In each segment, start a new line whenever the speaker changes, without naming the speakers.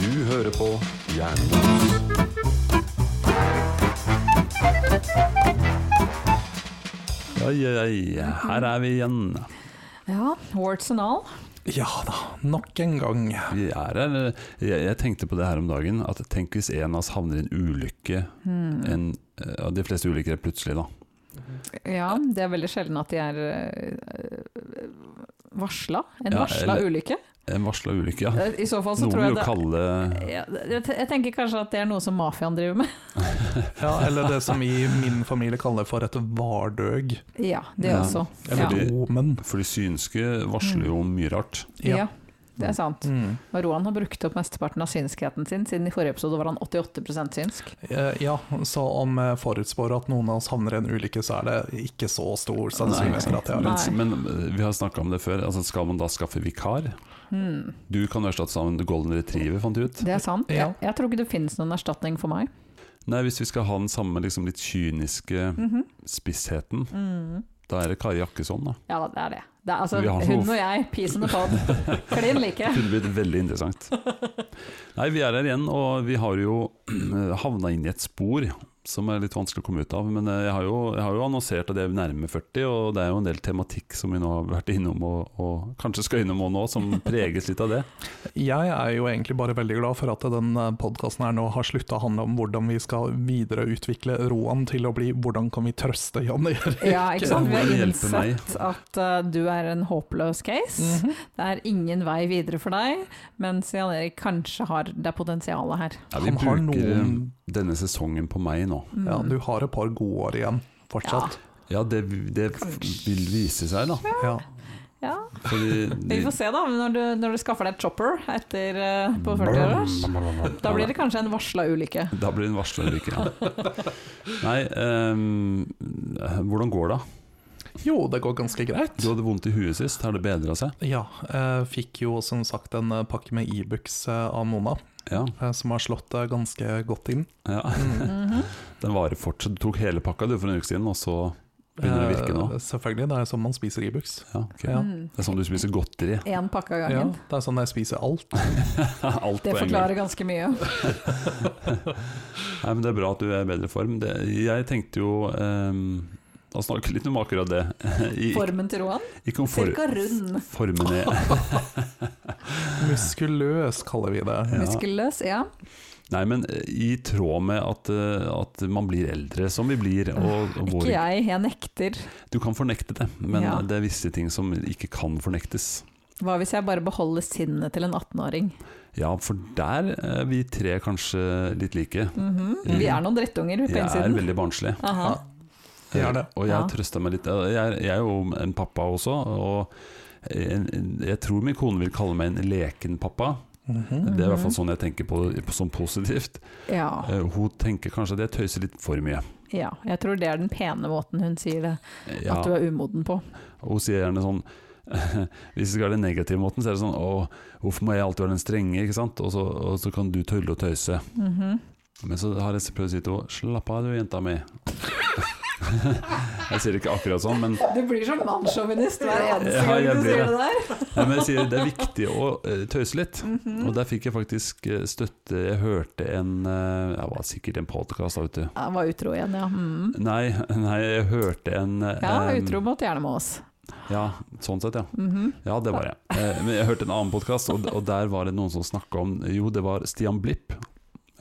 Du hører på Jernbanen. Oi, oi, oi. Her er vi igjen.
Ja, warts and all.
Ja da, nok en gang.
Vi er her. Jeg, jeg tenkte på det her om dagen. At tenk hvis en av oss havner i en ulykke.
Hmm.
En, eh, og de fleste ulykker er plutselig, da.
Ja, det er veldig sjelden at de er øh, varsla. En
Ja,
varsla
eller-
ulykke.
En varsla ulykke, ja.
I så fall så
Noen
tror
vil
jeg
jo
det
kalle
ja, jeg te- jeg tenker kanskje at det er noe som mafiaen driver med.
Ja, eller det som i min familie kaller for et vardøg.
Ja, det
Ja.
også. Ja.
Eller et omen.
For de synske varsler jo om mye rart.
Ja. det er sant.
Mm.
Og Roan har brukt opp mesteparten av synskheten sin, siden i forrige episode var han 88 synsk.
Eh, Ja, så om jeg forutspår at noen av oss havner i en ulykke, så er det ikke så stor sannsynlighet for at jeg har
Men,
en
Nei.
men eh, vi har snakka om det før. Altså, skal man da skaffe vikar?
Hmm,
Du kan erstatte som en golden retriever, fant du ut.
det er sant.
Ja.
Jeg, jeg tror ikke det finnes noen erstatning for meg.
Nei, hvis vi skal ha den samme liksom, litt kyniske
Mhm.
spissheten,
Mm.
da er det Kari Jakkesson, da.
Ja, det er det. det er, altså,
Vi har
hun
noe-
og jeg, peace in the pod. Klin like.
kunne blitt veldig interessant. Nei, vi er her igjen, og vi har jo havna inn i et spor som er litt vanskelig å komme ut av. Men eh, jeg har jo, jeg har jo annonsert at jeg er nærme 40, og det er jo en del tematikk som vi nå har vært innom, og, og kanskje skal innom også nå, som preges litt av det.
Jeg er jo egentlig bare veldig glad for at den podkasten her nå har slutta å handle om hvordan vi skal videreutvikle Roan til å bli 'hvordan kan vi trøste Jan Erik'?
Ja, ikke sant? Vi har
Hvordan hjelpe meg? Mhm.
innsett at eh, du er en håpløs case. Det er ingen vei videre for deg, mens Jan Erik kanskje har det potensialet her.
Ja, vi
Han har
bruker eh,
noen
denne sesongen på meg nå.
Mm.
Ja, du har et par gode år igjen fortsatt.
Ja, det, det f- vil vise seg, da.
Ja.
Ja,
Fordi
Vi
de-
får se da, når du, når du skaffer deg et chopper etter, eh, på 40 år. Da blir det kanskje en varsla ulykke.
Da blir det en varslerulykke. Ja. Nei, eh, hvordan går det?
Jo, det går ganske greit.
Du hadde vondt i huet sist, har det bedra seg?
Ja, jeg fikk jo som sagt en eh, pakke med Ibux eh, av Mona,
Ja,
eh, som har slått eh, ganske godt inn.
ja.
Mhm.
Den varer fortsatt. Du tok hele pakka du for en uke siden, og så Begynner det å virke nå?
Eh, Selvfølgelig, det er sånn man spiser Ibux.
ja, ok.
Ja.
Mm.
Det er sånn du spiser godteri.
En pakke av
Ja,
gangen.
det er sånn jeg spiser alt.
Alt
Det
på en gang.
forklarer ganske mye.
Nei, men det er bra at du er i bedre form. Det, jeg tenkte jo ehm, å snakke litt om akkurat det. I,
Formen til Roan,
ikke om for,
cirka rund.
formen i
Muskuløs kaller vi det.
Ja.
Muskuløs, ja.
Nei, men eh, i tråd med at, eh, at man blir eldre, som vi blir. Og, og
Ikke
vår,
jeg, jeg nekter.
du kan fornekte det, men
Ja.
det er visse ting som ikke kan fornektes.
Hva hvis jeg bare beholder sinnet til en 18-åring?
Ja, for der er vi tre kanskje litt like.
Mhm. Vi er noen drittunger på
Jeg Mm. er
innsiden.
veldig barnslig.
Aha.
Vi er det.
Og jeg
Ja.
trøster meg litt. Jeg er, jeg er jo en pappa også, og en, en- jeg tror min kone vil kalle meg en leken pappa.
Mhm.
Det er i hvert fall sånn jeg tenker på det som positivt.
Ja,
Eh, Hun tenker kanskje at jeg tøyser litt for mye.
ja, jeg tror det er den pene måten hun sier det,
Ja,
at du er umoden på.
og hun sier gjerne sånn Hvis vi skal ha den negative måten, så er det sånn Å, hvorfor må jeg alltid være den strenge, ikke sant? Og så, og så kan du tølle og tøyse.
Mhm.
Men så har jeg prøvd å si til henne Slapp av du, jenta mi. jeg sier det ikke akkurat sånn, men,
Du blir så mannssjåvinist hver eneste
Ja,
gang
jeg
du
blir
sier
det.
det der.
Nei, men jeg sier det er viktig å eh, tøyse litt.
Mhm. Mm.
Og der fikk jeg faktisk eh, støtte. Jeg hørte en eh, Jeg var sikkert i en podkast, da, vet du.
Han var utro igjen, ja. Mm.
Nei, nei, jeg hørte en eh,
Ja,
em,
utro mot gjerne med oss.
Ja, sånn sett, ja.
Mhm.
Ja, det var jeg. Eh, Men jeg hørte en annen podkast, og, og der var det noen som snakka om Jo, det var Stian Blipp.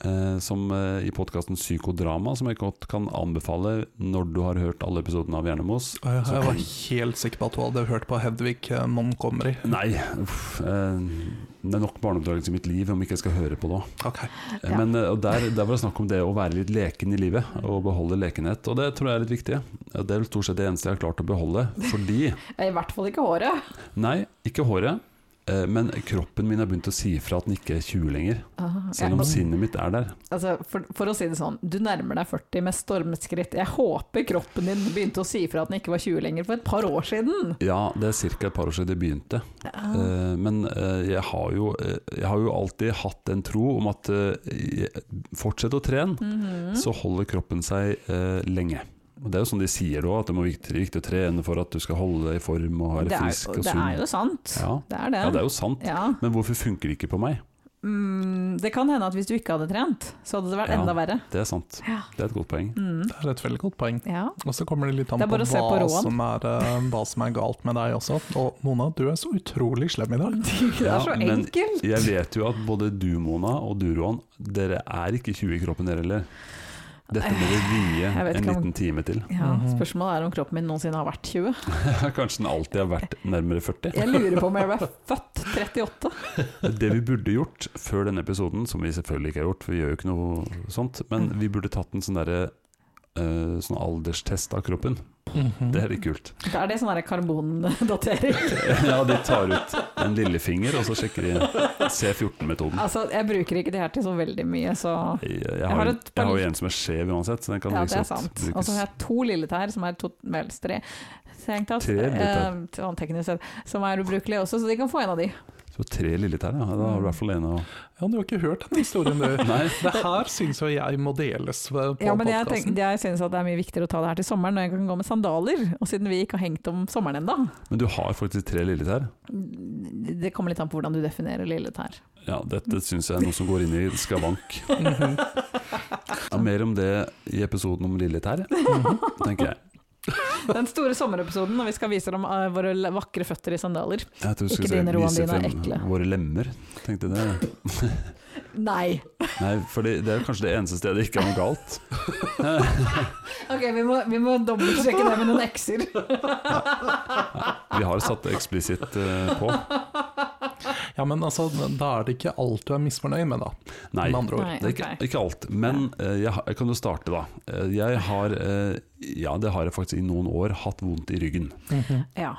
eh, Som eh, I podkasten Psykodrama, som jeg godt kan anbefale når du har hørt alle episodene av Hjernemos.
Og Jeg jeg var helt sikker på at du hadde hørt på Hedvig eh, Montgomery.
Nei, uff, eh, det er nok barneoppdragelse i mitt liv om ikke jeg skal høre på det.
Ok.
Eh,
Ja.
Men eh, og der, der var det snakk om det å være litt leken i livet, og beholde lekenhet. Og det tror jeg er litt viktig. Ja, Det er vel stort sett det eneste jeg har klart å beholde. Fordi
I hvert fall ikke håret.
Nei, ikke håret, eh, men kroppen min har begynt å si ifra at den ikke er 20 lenger.
Ah, jeg-
Selv om sinnet mitt er der.
altså, for, for å si det sånn, du nærmer deg 40 med stormskritt. Jeg håper kroppen din begynte å si fra at den ikke var 20 lenger for et par år siden.
Ja, det er ca. et par år siden det begynte.
Ja.
Eh, Men eh, jeg har, jo, eh, jeg har jo alltid hatt en tro om at eh, jeg- fortsett å trene,
Mhm.
så holder kroppen seg eh, lenge. Og Det er jo sånn de sier da, at det må være viktig, viktig å trene for at du skal holde deg i form og være
det,
frisk
er,
og
det
sunn.
er jo sant.
ja.
Det er det.
ja, det er jo sant.
Ja.
Men hvorfor funker det ikke på meg?
Mm, det kan hende at hvis du ikke hadde trent, så hadde det vært
Ja.
enda verre.
Det er sant.
Ja.
Det er et godt poeng.
Mm.
Det er et veldig godt poeng.
ja.
Og så kommer det litt an
Det er
på,
bare å se på
hva,
råen.
som er, eh, hva som er galt med deg også. Og Mona, du er så utrolig slem i dag.
Det
Ja,
er så
men-
enkelt.
Jeg vet jo at både du, Mona, og du, Roan, dere er ikke 20 i kroppen dere heller. Dette må vi vie
Jeg vet
en
ikke om-
liten time til.
Ja,
Mhm.
spørsmålet er om kroppen min noensinne har vært 20.
Kanskje den alltid har vært nærmere 40.
Jeg lurer på om jeg ble født 38.
Det vi burde gjort før denne episoden, som vi selvfølgelig ikke har gjort, for vi gjør jo ikke noe sånt, men vi burde tatt en sånn derre eh, sånn alderstest av kroppen.
Mhm.
Mm. Det er litt kult.
Da er det sånn der karbondatering.
Ja, de tar ut en lillefinger, og så sjekker de C14-metoden.
Altså, jeg bruker ikke det her til så veldig mye, så
Jeg, jeg,
har
har, en-
et par
jeg har jo
litt-
en som er skjev uansett, så den kan
ja, det
liksom
er sant.
brukes.
Og så har jeg to lilletær som er to melst tre. Så jeg tenkte at,
Tre lilletær.
eh, sånn teknisk sett, som er ubrukelige også, så de kan få en av de.
Så tre lilletær, ja. Da har du i hvert fall en å
Ja, du har ikke hørt den historien, du.
Nei,
Det her syns jo jeg må deles ved- på
Ja, men jeg,
podkasten.
tenk, jeg synes at det er mye viktigere å ta det her til sommeren når jeg kan gå med sandaler. Og siden vi ikke har hengt om sommeren ennå,
men du har faktisk tre lilletær.
Mm, det kommer litt an på hvordan du definerer lilletær.
Ja, dette syns jeg er noe som går inn i skavank.
Mhm.
Ja, mer om det i episoden om lilletær, tenker jeg.
Den store sommerepisoden når vi skal vise dem eh, våre l- vakre føtter i sandaler.
Jeg tror du
Ikke
skulle si
dine, Roan,
vise
dine er
frem
ekle.
våre lemmer. Tenkte det.
Nei!
Nei, for det, det er kanskje det eneste stedet det ikke er noe galt.
Ok, vi må, vi må dobbeltsjekke det med noen ekser.
Vi har satt det eksplisitt eh, på.
Ja, men altså, da er det ikke alt du er misfornøyd med, da.
Nei,
Med andre ord.
Nei,
det er ikke,
ok.
ikke alt. Men eh, jeg, har- jeg kan jo starte, da. Eh, jeg har, eh, ja det har jeg faktisk i noen år, hatt vondt i ryggen. Eh,
Mhm.
Ja,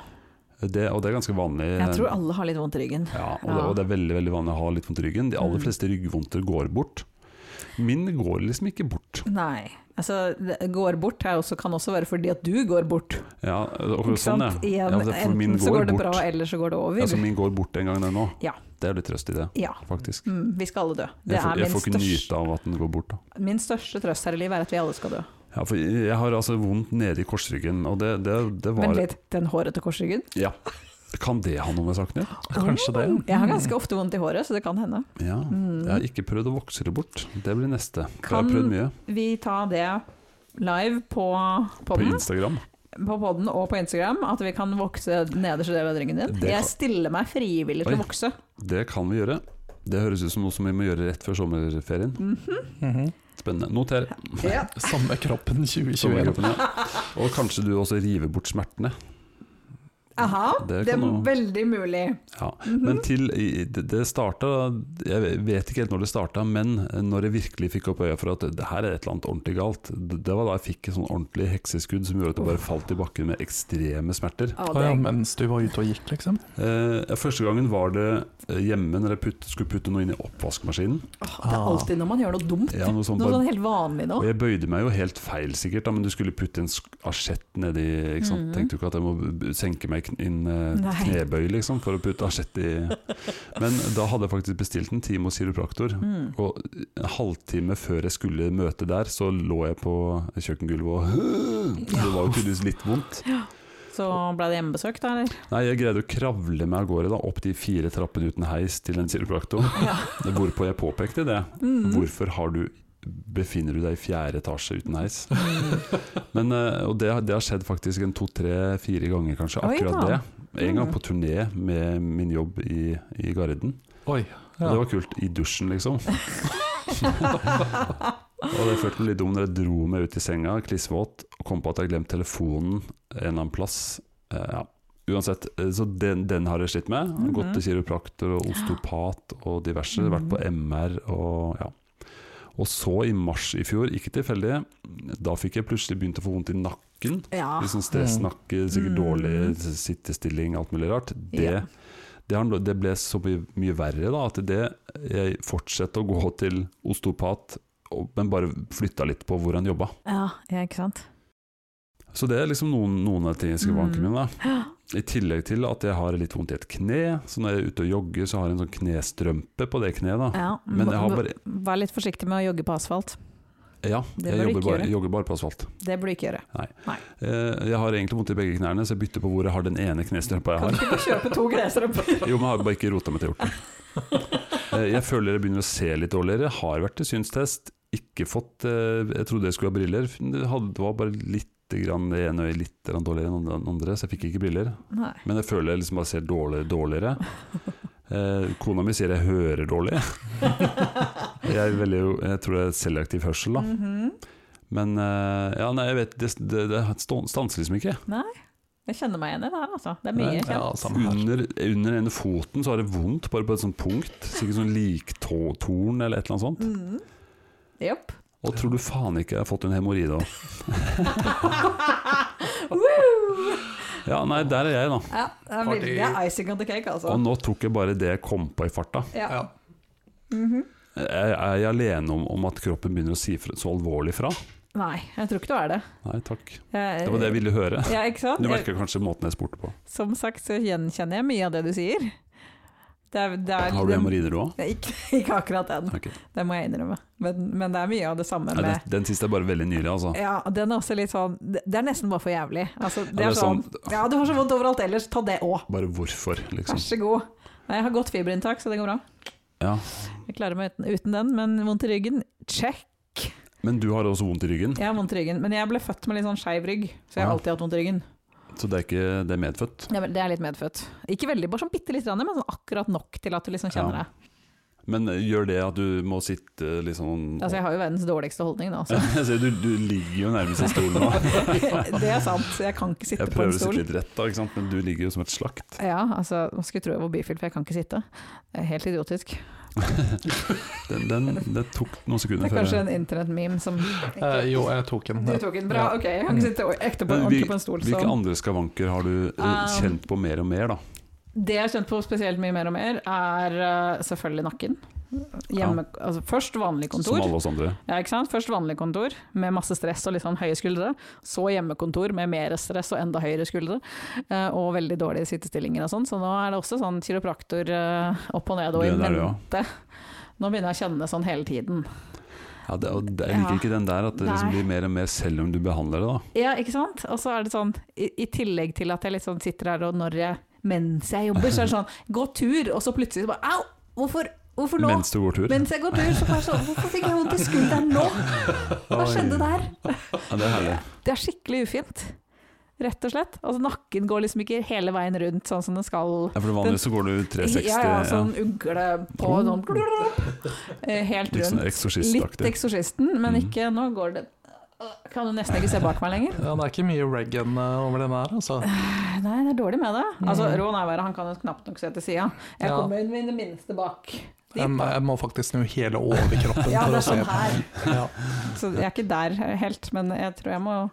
Det, og det er ganske vanlig.
jeg tror alle har litt vondt i ryggen.
Ja, og, Det, og det er veldig veldig vanlig å ha litt vondt i ryggen. De aller
Mm.
fleste ryggvondter går bort. Min går liksom ikke bort.
Nei. Altså, det går bort her også, kan også være fordi at du går bort.
Ja, og,
Ikke
sånn,
sant?
ja.
Igjen,
ja for min Altså-
enten så går det bra, eller så går det over.
Ja, så min går bort en gang den nå.
Ja.
Det er litt trøst i det,
Ja.
faktisk.
Mm, vi skal alle dø. Det
Jeg får,
er
jeg
min
får ikke
største,
nyte av at den går bort. Da.
min største trøst her i livet er at vi alle skal dø.
Ja, for jeg har altså vondt nede i korsryggen, og det, det, det var
Vent litt, den hårete korsryggen?
Ja. Kan det ha noe med saken å gjøre?
Kanskje det.
Jeg har
Mm.
ganske ofte vondt i håret, så det kan hende.
Ja.
Mm.
Jeg har ikke prøvd å vokse det bort. Det blir neste. For jeg
Kan-
har prøvd mye
Vi tar det live på
på
podden,
Instagram.
på podden og på Instagram, at vi kan vokse nederste del av ryggen din.
Det kan-
Jeg stiller meg frivillig til
Oi.
å vokse.
Det kan vi gjøre. Det høres ut som noe som vi må gjøre rett før sommerferien.
Mhm.
Spennende. Noter.
Ja.
Samme kroppen 2021.
Sommergruppen, ja. Og kanskje du også river bort smertene.
Aha,
Det
det,
kan
er
også-
veldig mulig.
Ja. Men til i- det det starta Jeg vet ikke helt når det starta, men eh, når jeg virkelig fikk opp øya for at det her er et eller annet ordentlig galt, det det var da jeg fikk et sånn ordentlig hekseskudd som gjorde at jeg bare falt i bakken med ekstreme smerter.
Å,
Ah, ja,
det-
mens du var ute og gikk, liksom.
Eh, ja, første gangen var det eh, hjemme når jeg putt, skulle putte noe inn i oppvaskmaskinen.
Åh, det er alltid når man gjør noe dumt.
Ja, noe sånt
Noe
bare,
sånn helt vanlig nå.
og jeg bøyde meg jo helt feil, sikkert, da, men du skulle putte en sk- asjett nedi ikke sant?
Mhm.
Tenkte jo ikke at jeg må b- b- senke meg kn- inn eh,
Nei.
knebøy liksom, for å putte asjett i Men da hadde jeg faktisk bestilt en time hos kiropraktor,
Mm.
Og en halvtime før jeg skulle møte der, så lå jeg på kjøkkengulvet og Det var jo tydeligvis litt vondt.
Så ble det hjemmebesøk, da, eller?
Nei, jeg greide å kravle meg av gårde da, opp de fire trappene uten heis til en kiropraktor.
Ja.
Hvorpå jeg påpekte det.
Mm.
Hvorfor har du Befinner du deg i fjerde etasje uten heis?
Mm.
Men, eh, og det, har- det har skjedd faktisk en to-tre-fire ganger, kanskje.
Oi,
Akkurat
da.
det. En gang
Mm.
på turné med min jobb i, i Garden.
Oi.
Og
Ja.
det var kult. I dusjen, liksom. og det følte meg litt dum når jeg dro meg ut i senga, klissvåt, og kom på at jeg glemte telefonen en eller annen plass. Eh, ja. Uansett, eh, så den, den har jeg slitt med. Gått til kiropraktor og osteopat og diverse. Vært på MR og ja. Og så i mars i fjor, ikke tilfeldig, da fikk jeg plutselig begynt å få vondt i nakken.
Ja.
Litt sånn stressnakke, sikkert dårlig sittestilling, alt mulig rart. Det,
Ja.
det, har- det ble så mye, mye verre da, at det, jeg fortsatte å gå til osteopat, og- men bare flytta litt på hvor han jobba.
Ja, ja, ikke sant.
Så det er liksom noen, noen av tingene som vanker
Mm.
mine. Da. I tillegg til at jeg har litt vondt i et kne, så når jeg er ute og jogger, så har jeg en sånn knestrømpe på det kneet. da.
Ja.
Men jeg har bare
Vær litt forsiktig med å jogge på asfalt.
Ja,
Det
jeg
bør du
jobber
ikke
bare,
gjøre.
jogger bare på asfalt.
Det burde du ikke gjøre.
Eh, Jeg har egentlig vondt i begge knærne, så jeg bytter på hvor jeg har den ene knestørpa jeg
Kan
har.
ikke du kjøpe to gresstrømper?
Jo, men jeg har bare ikke rota meg til hjorten. Eh, Jeg føler jeg begynner å se litt dårligere. Har vært til synstest. Ikke fått eh, Jeg trodde jeg skulle ha briller. Det hadde- det var bare lite grann det ene øyet litt grann dårligere enn det andre, så jeg fikk ikke briller.
Nei.
Men jeg føler jeg liksom bare ser dårligere dårligere. Eh, kona mi sier jeg hører dårlig. Jeg, er veldig, jeg tror det er selektiv hørsel, da.
Mhm.
Men eh, ja, nei, jeg vet, det, det, det stå- stanser liksom ikke.
Jeg kjenner meg igjen i det her, altså. Det er mye jeg kjenner.
Ja, samme her.
Under, under ene foten så har det vondt, bare på et sånt punkt. Sikkert sånn liktorn eller et eller annet sånt.
Mhm. Jopp.
Og tror du faen ikke jeg har fått en hemoroide òg.
Woo!
Ja, nei, der er jeg, da.
Ja, det er
Fordi-
veldig icing on the cake, altså.
Og nå tok jeg bare det jeg kom på i farta.
Ja.
Ja. eh,
Mhm.
Jeg jeg er jeg alene om, om at kroppen begynner å si fra, så alvorlig fra?
Nei, jeg tror ikke du er det.
Nei takk.
Jeg,
Det var det jeg ville høre.
Ja, ikke sant?
Du
Jeg,
merker kanskje måten jeg spurte på.
som sagt så gjenkjenner jeg mye av det du sier. Det er, det er,
Har du hemoroider du òg?
Nei, Ikke, ikke akkurat den,
Ok.
det må jeg innrømme. Men, men det er mye av det samme
Nei,
med
den, den siste er bare veldig nylig, altså.
ja, den er også litt sånn Det det er nesten bare for jævlig. Altså, det
Ja,
er sånn, ja, du har så vondt overalt ellers, ta det òg.
Bare hvorfor, liksom.
Vær så god. Nei, Jeg har godt fiberinntak, så det går bra.
Ja.
Jeg klarer meg uten, uten den, men vondt i ryggen, check.
Men du har også vondt i ryggen,
Jeg har vondt i ryggen, men jeg ble født med litt sånn skeiv rygg, så jeg har
Ja.
alltid hatt vondt i ryggen.
så det er ikke det er medfødt.
Ja, men det er litt medfødt. Ikke veldig, bare sånn bitte litt, men sånn akkurat nok til at du liksom kjenner
Ja.
det.
Men eh, gjør det at du må sitte litt sånn
Altså, jeg har jo verdens dårligste holdning nå, så
Jeg ser du, du ligger jo nærmest i stolen nå.
det er sant. så Jeg kan ikke sitte
Jeg
på
prøver å
en stol.
sitte litt rett, da, ikke sant? men du ligger jo som et slakt.
Ja, altså, man skulle tro jeg var bifil, for jeg kan ikke sitte. Det er helt idiotisk.
Den, den, det tok noen
Det
sekunder
er
før
kanskje
jeg-
en internettmeme som
Eh,
ikke
jo, jeg tok en.
Du tok den bra, ok. Jeg kan ikke sitte ekte på,
Men
ordentlig
hvil-
på en stol.
Hvilke
Så.
andre skavanker har du eh,
Um,
kjent på mer og mer, da?
Det jeg har kjent på spesielt mye mer og mer, er eh, selvfølgelig nakken. Hjemme, altså, først vanlig
Som
kontor.
alle oss andre.
Ja, ikke sant? Først vanlig kontor med masse stress og litt sånn høye skuldre. Så hjemmekontor med mer stress og enda høyere skuldre. eh, Og veldig dårlige sittestillinger og sånn. Så nå er det også sånn kiropraktor eh, opp og ned og
Du
i
er der, ja.
mente. Nå begynner jeg å kjenne sånn hele tiden.
Ja, det, og det, jeg liker
Ja.
ikke den der, at det liksom
Nei.
blir mer og mer selv om du behandler det. da
Ja, ikke sant? Og så er det sånn, i, i tillegg til at jeg litt sånn sitter her og når jeg Mens jeg jobber, så er det sånn Gå tur, og så plutselig så bare Au! Hvorfor, hvorfor nå?
Mens du går tur.
Mens jeg går tur, så bare sånn Hvorfor fikk jeg vondt i skulderen nå? Hva skjedde der?
Ja, det er herlig.
Det er skikkelig ufint. Rett og slett. Altså, nakken går liksom ikke hele veien rundt sånn som den skal.
Ja, for vanligvis så går du 360
ja, ja, sånn ugle på
Oh.
sånn eh, Helt
Litt sånn
rundt. Litt
eksorsistaktig.
Eksorsisten, men
Mm.
ikke Nå går det Kan du nesten ikke se bak meg lenger.
Ja, det er ikke mye Reagan eh, over den her, altså.
Nei, det er dårlig med det. Altså,
Mm.
Rån er verre, han kan jo knapt nok se til sida. Jeg
Ja.
kommer inn i det minste bak.
Jeg, jeg må faktisk snu hele overkroppen
Ja,
for
det
å
er
se.
sånn her.
Ja.
Så jeg er ikke der helt, men jeg tror jeg må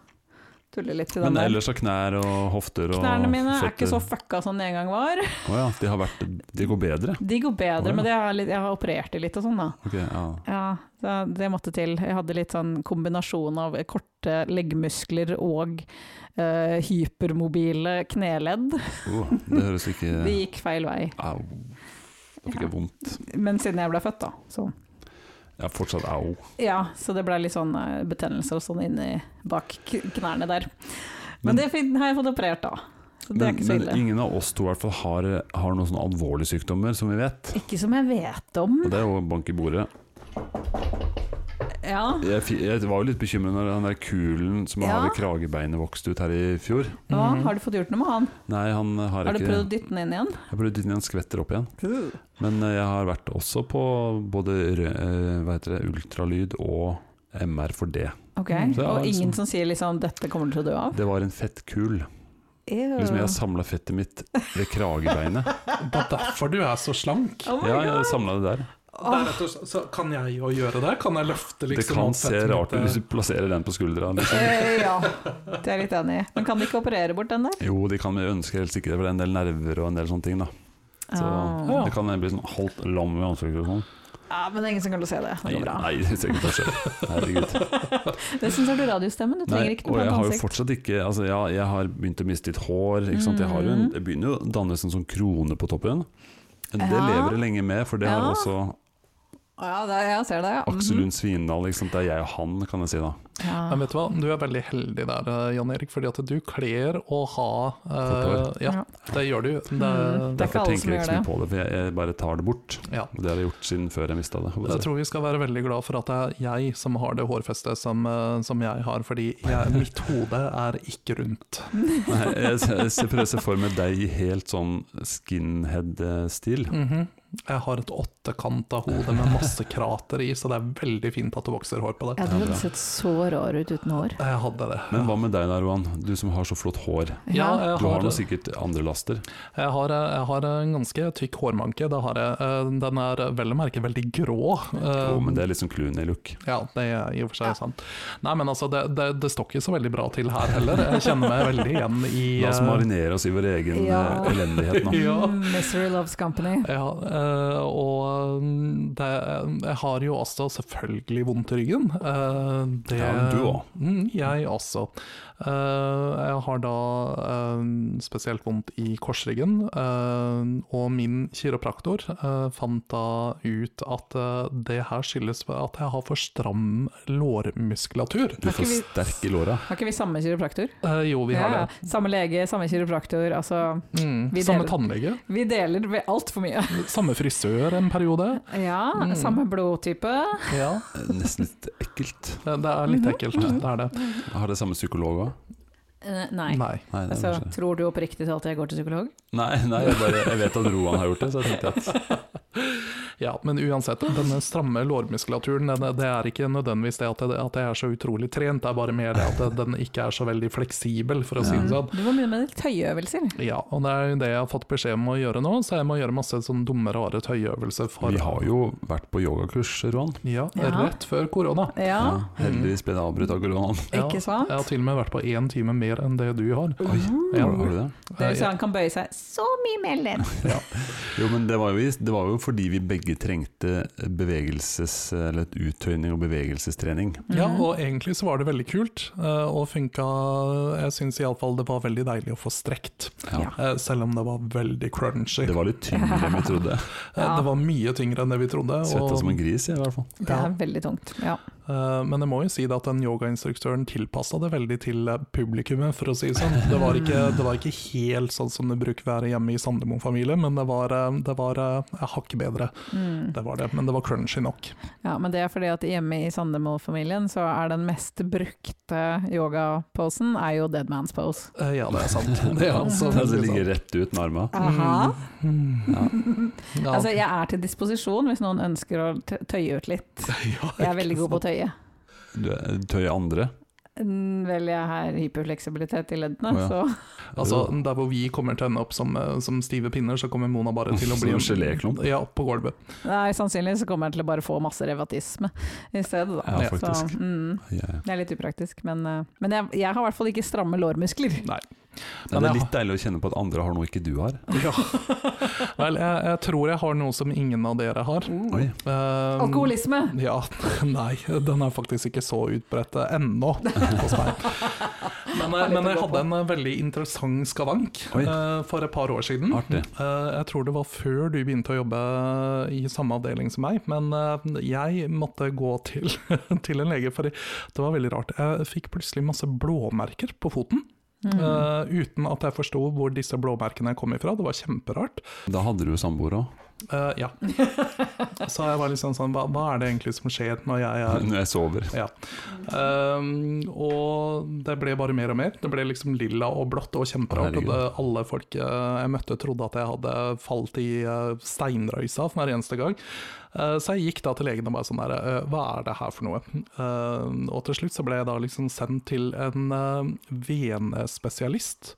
tulle litt til den
Men
der.
ellers av knær og hofter og
Knærne mine er ikke så
føtter.
fucka som de en gang var.
Å ja, de, har vært, de går bedre.
De går bedre,
Å, ja.
men det er litt, jeg har operert de litt og sånn, da.
Ok, ja.
Ja, det, det måtte til. Jeg hadde litt sånn kombinasjon av korte leggmuskler og eh, hypermobile kneledd.
Oh, det høres ikke
Det gikk feil vei.
Au. Da fikk jeg vondt.
Men siden jeg ble født, da. Så.
Jeg har fortsatt au.
Ja, så det ble litt sånn eh, betennelser og sånn inni bak k- knærne der.
Men-
Men, det fin- har jeg fått operert, da. Så det er
Men,
ikke så
men
ille.
ingen av oss to i hvert fall har, har noen sånne alvorlige sykdommer, som vi vet.
Ikke som jeg vet om.
Og det er jo bank i bordet.
Ja.
Jeg, fi- jeg var jo litt bekymret når den der kulen som jeg
Ja.
har ved kragebeinet vokste ut her i fjor.
ja. Har du fått gjort noe med han?
Nei, han Mhm. har,
Har du
ikke
prøvd å dytte den inn igjen?
Jeg prøvde inn i en skvetter opp igjen. Men eh, jeg har vært også på både rø- eh, hva heter det, ultralyd og MR for det.
Ok,
Mm.
Så jeg har
Og ingen
liksom-
som sier liksom 'dette kommer du til å dø av'?
Det var en fettkul. Liksom jeg samla fettet mitt ved kragebeinet.
Det er derfor du er så slank.
Oh my
Ja,
god.
jeg samlet det der.
Det er rett og slett, så kan jeg jo gjøre det? Kan jeg løfte
Det
liksom
kan
alt
se
fettet
rart ut
mitt,
hvis
eh?
du plasserer den på skuldra. Liksom.
Eh, ja, det er jeg litt enig i. Men kan de ikke operere bort den der?
Jo, de kan vi ønsker helst ikke det, for det er en del nerver og en del sånne ting. da Så
Ah.
Det kan bli sånn halvt lam i ansiktet og sånn.
ja, men det er ingen som kan se det. Det
Nei,
går bra.
nei, det ser ikke ut til å skje. Herregud.
Det syns jeg du radiostemmen. Du trenger
Nei,
ikke
og
noe
jeg
pent
har jo
ansikt.
fortsatt ikke altså, ja, Jeg har begynt å miste litt hår. Ikke sant? Jeg, har jo
Mm.
en, jeg begynner jo å danne en sånn krone på toppen. Men Det
Ja.
lever jeg lenge med, for det har
Ja.
også
Ja, det, jeg ser det, ja. Mhm.
Aksel Lund Svindal, ikke sant? det er jeg og han, kan jeg si da.
Ja.
Men vet du hva, du er veldig heldig der, eh, Jan Erik, fordi at du kler å ha eh,
Kort
Ja,
Ja.
det gjør du. Det,
Mm, det er ikke
Derfor
alle som
tenker jeg
gjør
ikke så mye
det.
på det, for jeg, jeg bare tar det bort.
ja.
Og Det har jeg gjort siden før jeg mista det.
Jeg tror vi skal være veldig glad for at det er jeg som har det hårfestet som, eh, som jeg har, fordi jeg, mitt hode er ikke rundt.
Nei, jeg, jeg, jeg prøver å se for meg deg i helt sånn skinhead-stil.
Mhm. Jeg har et åttekanta hode med masse krater i, så det er veldig fint at det vokser hår på det.
Ja, du hadde sett så rar ut uten hår.
Jeg hadde det.
Men hva med deg da, Roan? Du som har så flott hår.
Ja, jeg
Du har
har,
nå sikkert andre laster.
jeg, har, eh, jeg har en ganske tykk hårmanke. Det har jeg. Eh, Den er vel å merke veldig grå.
Å,
Eh,
men det er liksom Clooney-look.
Ja, det er i og for seg
Ja.
sant. Nei, men altså, det, det, det står ikke så veldig bra til her heller. Jeg kjenner meg veldig igjen i
La oss
eh,
marinere oss i vår egen
Ja.
eh, elendighet nå.
Ja.
Mm, Misery Loves Company.
ja, eh, og mm, det, jeg har jo også selvfølgelig vondt i ryggen. Eh, det,
Ja, du også.
Mm, jeg også. Eh, jeg har da eh, spesielt vondt i korsryggen, eh, og min kiropraktor eh, fant da ut at eh, det her skyldes at jeg har for stram lårmuskulatur.
Du
Har ikke
får
vi-
sterk i låra.
Har ikke vi samme kiropraktor?
Eh, jo, vi har
Ja,
det.
ja. Samme lege, samme kiropraktor. Altså,
Mm.
Vi
Samme
deler.
tannlege,
vi deler ved altfor mye.
samme frisør en periode.
Ja,
Mm.
samme blodtype.
Ja,
Eh, Nesten litt ekkelt.
det det er
Mhm.
litt ekkelt, det er det.
Har det samme psykolog òg?
Eh, nei.
Nei.
Nei, det er
Altså,
kanskje-
tror du oppriktig talt jeg går til psykolog?
nei, nei jeg, bare, jeg vet at Roan har gjort det, så jeg tenkte at
Ja, men uansett, denne stramme lårmuskulaturen, den, det er ikke nødvendigvis det at, det at jeg er så utrolig trent, det er bare mer det at den ikke er så veldig fleksibel, for å si det sånn.
Mm. Du må begynne med litt tøyeøvelser.
Ja, og det er jo det jeg har fått beskjed om å gjøre nå, så jeg må gjøre masse sånn dumme, rare tøyeøvelser for
Vi har jo vært på yogakurs, Roan.
Ja,
Ja.
rett før korona.
Ja,
Ja, heldigvis ble det avbrutt av koronaen.
Ja,
ikke sant?
Jeg har til og med vært på én time mer enn det du har.
Oi,
Ja.
har, har du det?
Det vil si Mm. han kan bøye seg så mye mer enn
Jo, men det var jo, det var jo fordi vi begge trengte bevegelses, eller et uttøyning og bevegelsestrening.
Ja,
Mhm.
og egentlig så var det veldig kult, eh, og funka Jeg syns iallfall det var veldig deilig å få strekt,
Ja.
eh, selv om det var veldig crunchy.
Det
Det var,
var litt tyngre enn vi trodde.
Ja.
det var mye tyngre enn det vi trodde.
Svetta som en gris, jeg, i hvert fall.
Det er veldig tungt. Ja.
eh, men jeg må jo si det at den yogainstruktøren tilpassa det veldig til eh, publikummet, for å si det sånn. Det var ikke, det var ikke helt sånn som det bruker å være hjemme i Sandemo-familien, men det var, eh, det var eh, hakket bedre.
Mm.
Det var det, men det var crunchy nok.
ja, men det er fordi at hjemme i Sandemo-familien så er den mest brukte yogaposen er jo dead man's pose.
Eh, ja, det er sant. Det er
Den som
altså veldig
ligger
sant. Mm.
rett ut med armene.
Aha.
Mm.
Ja.
Altså, jeg er til disposisjon hvis noen ønsker å t- tøye ut litt.
Ja,
Jeg er
ikke
veldig god på å tøye.
Du er- tøyer andre.
Mm, Vel, jeg har hyperfleksibilitet i leddene,
Å, ja.
så
Altså, der hvor vi kommer til å ende opp som, eh, som stive pinner, så kommer Mona bare til å bli
Som en geléklump?
Ja, på gulvet.
Nei, sannsynligvis så kommer jeg til å bare få masse revatisme i stedet. Da.
Ja,
så,
faktisk.
mm,
Ja, ja.
det er litt upraktisk, men, eh, men jeg, jeg har i hvert fall ikke stramme lårmuskler.
Nei, det
Men
er
jeg-
litt deilig å kjenne på at andre har noe ikke du har.
Ja. Vel, jeg, jeg tror jeg har noe som ingen av dere har.
Oi.
Eh,
Alkoholisme!
Ja, nei, den er faktisk ikke så utbredt eh, ennå hos meg. Men, eh, men jeg hadde en eh, veldig interessant skavank
Oi.
eh, for et par år siden.
Artig.
Eh, Jeg tror det var før du begynte å jobbe eh, i samme avdeling som meg, men eh, jeg måtte gå til, til en lege, for det var veldig rart. Jeg fikk plutselig masse blåmerker på foten,
Mm.
Mm.
eh, uten at jeg forsto hvor disse blåmerkene kom ifra. Det var kjemperart.
Da hadde du jo samboer òg.
Eh, Ja. Så jeg var liksom sånn, hva, hva er det egentlig som skjer når jeg er
Når jeg sover.
ja. Ehm, og det ble bare mer og mer. Det ble liksom lilla og blått og kjemperart. Og
Herregud.
det, alle folk eh, jeg møtte trodde at jeg hadde falt i eh, steinrøysa for hver eneste gang. Eh, så jeg gikk da til legen og bare sånn der eh, Hva er det her for noe? Ehm, og til slutt så ble jeg da liksom sendt til en eh, venespesialist.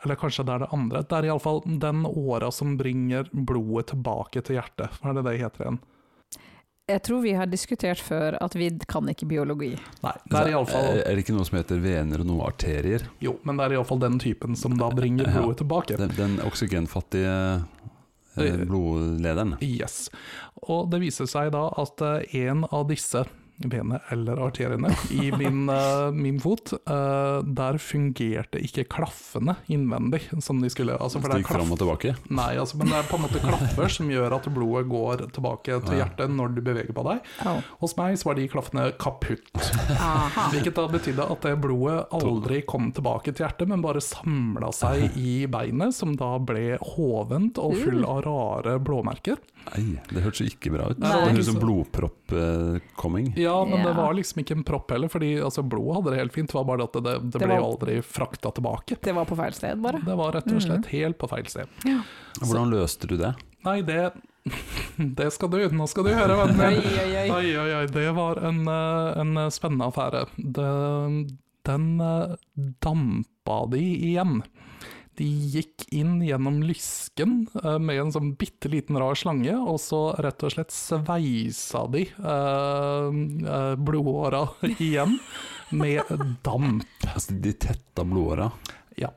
Eller kanskje det er det andre. Det er iallfall den åra som bringer blodet tilbake til hjertet. Hva er det det heter igjen?
Jeg tror vi har diskutert før at vi kan ikke biologi.
Nei, det er iallfall
Er det ikke noe som heter vener og noe arterier?
Jo, men det er iallfall den typen som da bringer
Ja.
blodet tilbake.
Den, den oksygenfattige eh, blodlederen.
Yes. Og det viser seg da at eh, en av disse vener eller arteriene i min, eh, min fot. Eh, der fungerte ikke klaffene innvendig som de skulle. Altså, for det er
Stikk fram
klaff
og tilbake.
Nei, altså, men det er på en måte klaffer som gjør at blodet går tilbake til hjertet når du beveger på deg.
Au.
Hos meg så var de klaffene kaputt.
Aha.
Hvilket da betydde at det blodet aldri kom tilbake til hjertet, men bare samla seg i beinet, som da ble hovent og full av rare blåmerker.
Nei, det hørtes jo ikke bra ut.
Nei.
Det høres ut som blodpropp-coming.
Ja, men det
Ja.
var liksom ikke en propp heller, fordi altså, blodet hadde det helt fint, det var bare at det, det, det
Det
ble
var-
jo aldri frakta tilbake.
Det var på feil sted, bare. Mm.
Det var rett og slett helt på feil sted.
Hvordan løste du det?
Nei, det Det skal du, nå skal du høre, vennen
Oi,
min.
oi, oi.
Oi, oi, oi. Det var en, eh, en spennende affære. Det, den eh, dampa de igjen. De gikk inn gjennom lysken eh, med en sånn bitte liten rar slange, og så rett og slett sveisa de eh, eh, blodåra igjen med damp.
Altså, de tetta blodåra.
Ja.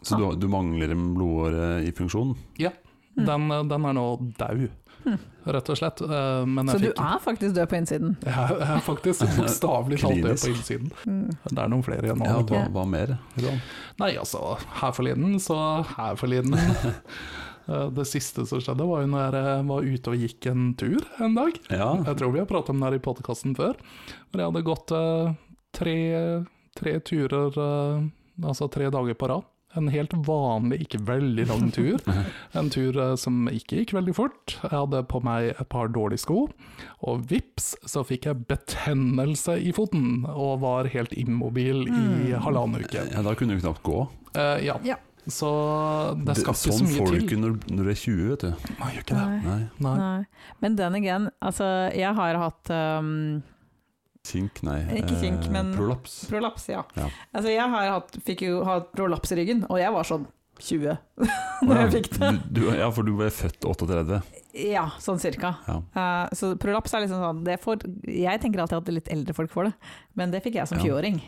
Så du, du mangler en blodåre i funksjon?
ja. Den, eh, den er nå dau, rett og slett. Eh, Men
Så
jeg
du
fikk
er faktisk død på innsiden.
jeg er jeg er faktisk bokstavelig talt død på
Klinisk.
innsiden.
Mm.
Det er noen flere igjen nå.
Ja,
vet du.
hva, hva mer? Roan?
Nei, altså, her forleden, så her forleden. Eh, Det siste som skjedde, var jo når jeg eh, var ute og gikk en tur en dag.
Ja,
Jeg tror vi har pratet om det her i podkasten før. Hvor jeg hadde gått eh, tre, tre turer, eh, altså tre dager på rad. En helt vanlig, ikke veldig lang tur. En tur eh, som ikke gikk veldig fort. Jeg hadde på meg et par dårlige sko, og vips så fikk jeg betennelse i foten. Og var helt immobil i halvannen uke.
ja da kunne du knapt gå.
Eh, ja.
Ja.
Så det skal ikke så
sånn
mye
får du
til.
ikke når, når du er 20, vet du.
Nei, gjør ikke det.
Nei,
Nei.
Nei. Men den igjen, altså jeg har hatt um,
kink, nei. Eh,
Ikke kink, men-
Prolaps.
prolaps, ja.
Ja.
Altså jeg har hatt, fikk jo hatt prolaps i ryggen, og jeg var sånn 20
Å,
når
ja.
jeg fikk det.
Du, du, ja, for du ble født 38.
Ja, sånn cirka.
Ja.
Eh, så prolaps er liksom sånn det får, Jeg tenker alltid at litt eldre folk får det, men det fikk jeg som
Ja.
20-åring.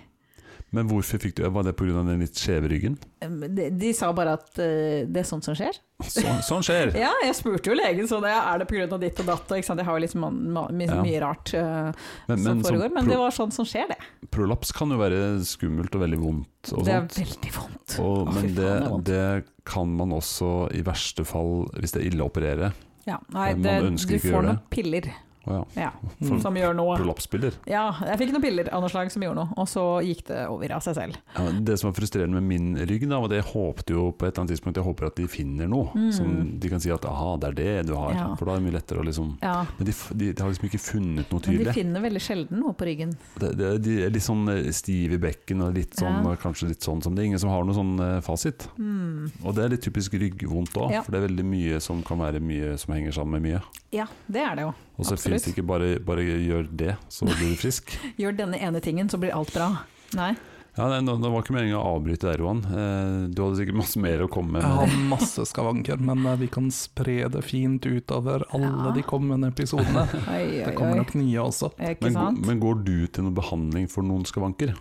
Men hvorfor fikk du Var det pga. den litt skjeve ryggen?
Eh, De, de sa bare at eh, det er sånt som skjer.
Sånn, sånn skjer!
Ja, jeg spurte jo legen sånn, ja, er det pga. ditt og datt, og ikke sant? jeg har jo liksom man- ma- my,
Ja.
mye rart eh,
Men,
som
men,
foregår,
sånn
men det
pro,
var sånn som skjer, det.
prolaps kan jo være skummelt og veldig vondt. Og
Det er
sånt.
veldig vondt.
Og,
Å, fy
men
faen,
det,
det er vondt.
det kan man også i verste fall, hvis det er ille å operere.
Ja, nei,
Man
det,
ønsker
du
ikke å
får
gjøre
noen piller
Å ja.
ja,
Mm.
som gjør noe.
Prolapsbilder.
Ja, jeg fikk noen piller av noe slag som gjorde noe, og så gikk det over av seg selv.
Ja, men det som var frustrerende med min rygg, da, var at jeg håpte jo på et eller annet tidspunkt Jeg håper at de finner noe
Mm.
som de kan si at aha, det er det du har.
Ja.
For da er det mye lettere å liksom
Ja,
Men de, f- de, de har liksom ikke funnet noe
men de
tydelig.
finner veldig sjelden noe på ryggen.
De, de, de er litt sånn eh, stive i bekken og litt sånn,
Ja.
og kanskje litt sånn som det. er Ingen som har noe sånn eh, fasit.
Mm.
Og det er litt typisk ryggvondt òg,
Ja.
for det er veldig mye som kan være mye som henger sammen med mye.
Ja, det er det jo.
Og så
Absolutt.
fins det ikke bare, bare gjør det, så blir du frisk.
Gjør denne ene tingen, så blir alt bra. Nei.
Ja, nei, nå- Det var ikke meningen å avbryte der, Roan. Eh, Du hadde sikkert masse mer å komme med.
Jeg har masse skavanker, men eh, vi kan spre det fint utover alle
Ja.
de kommende episodene.
Oi,
Det
oi,
kommer
oi.
nok nye også.
Ikke
Men,
sant?
gå- men går du til noen behandling for noen skavanker?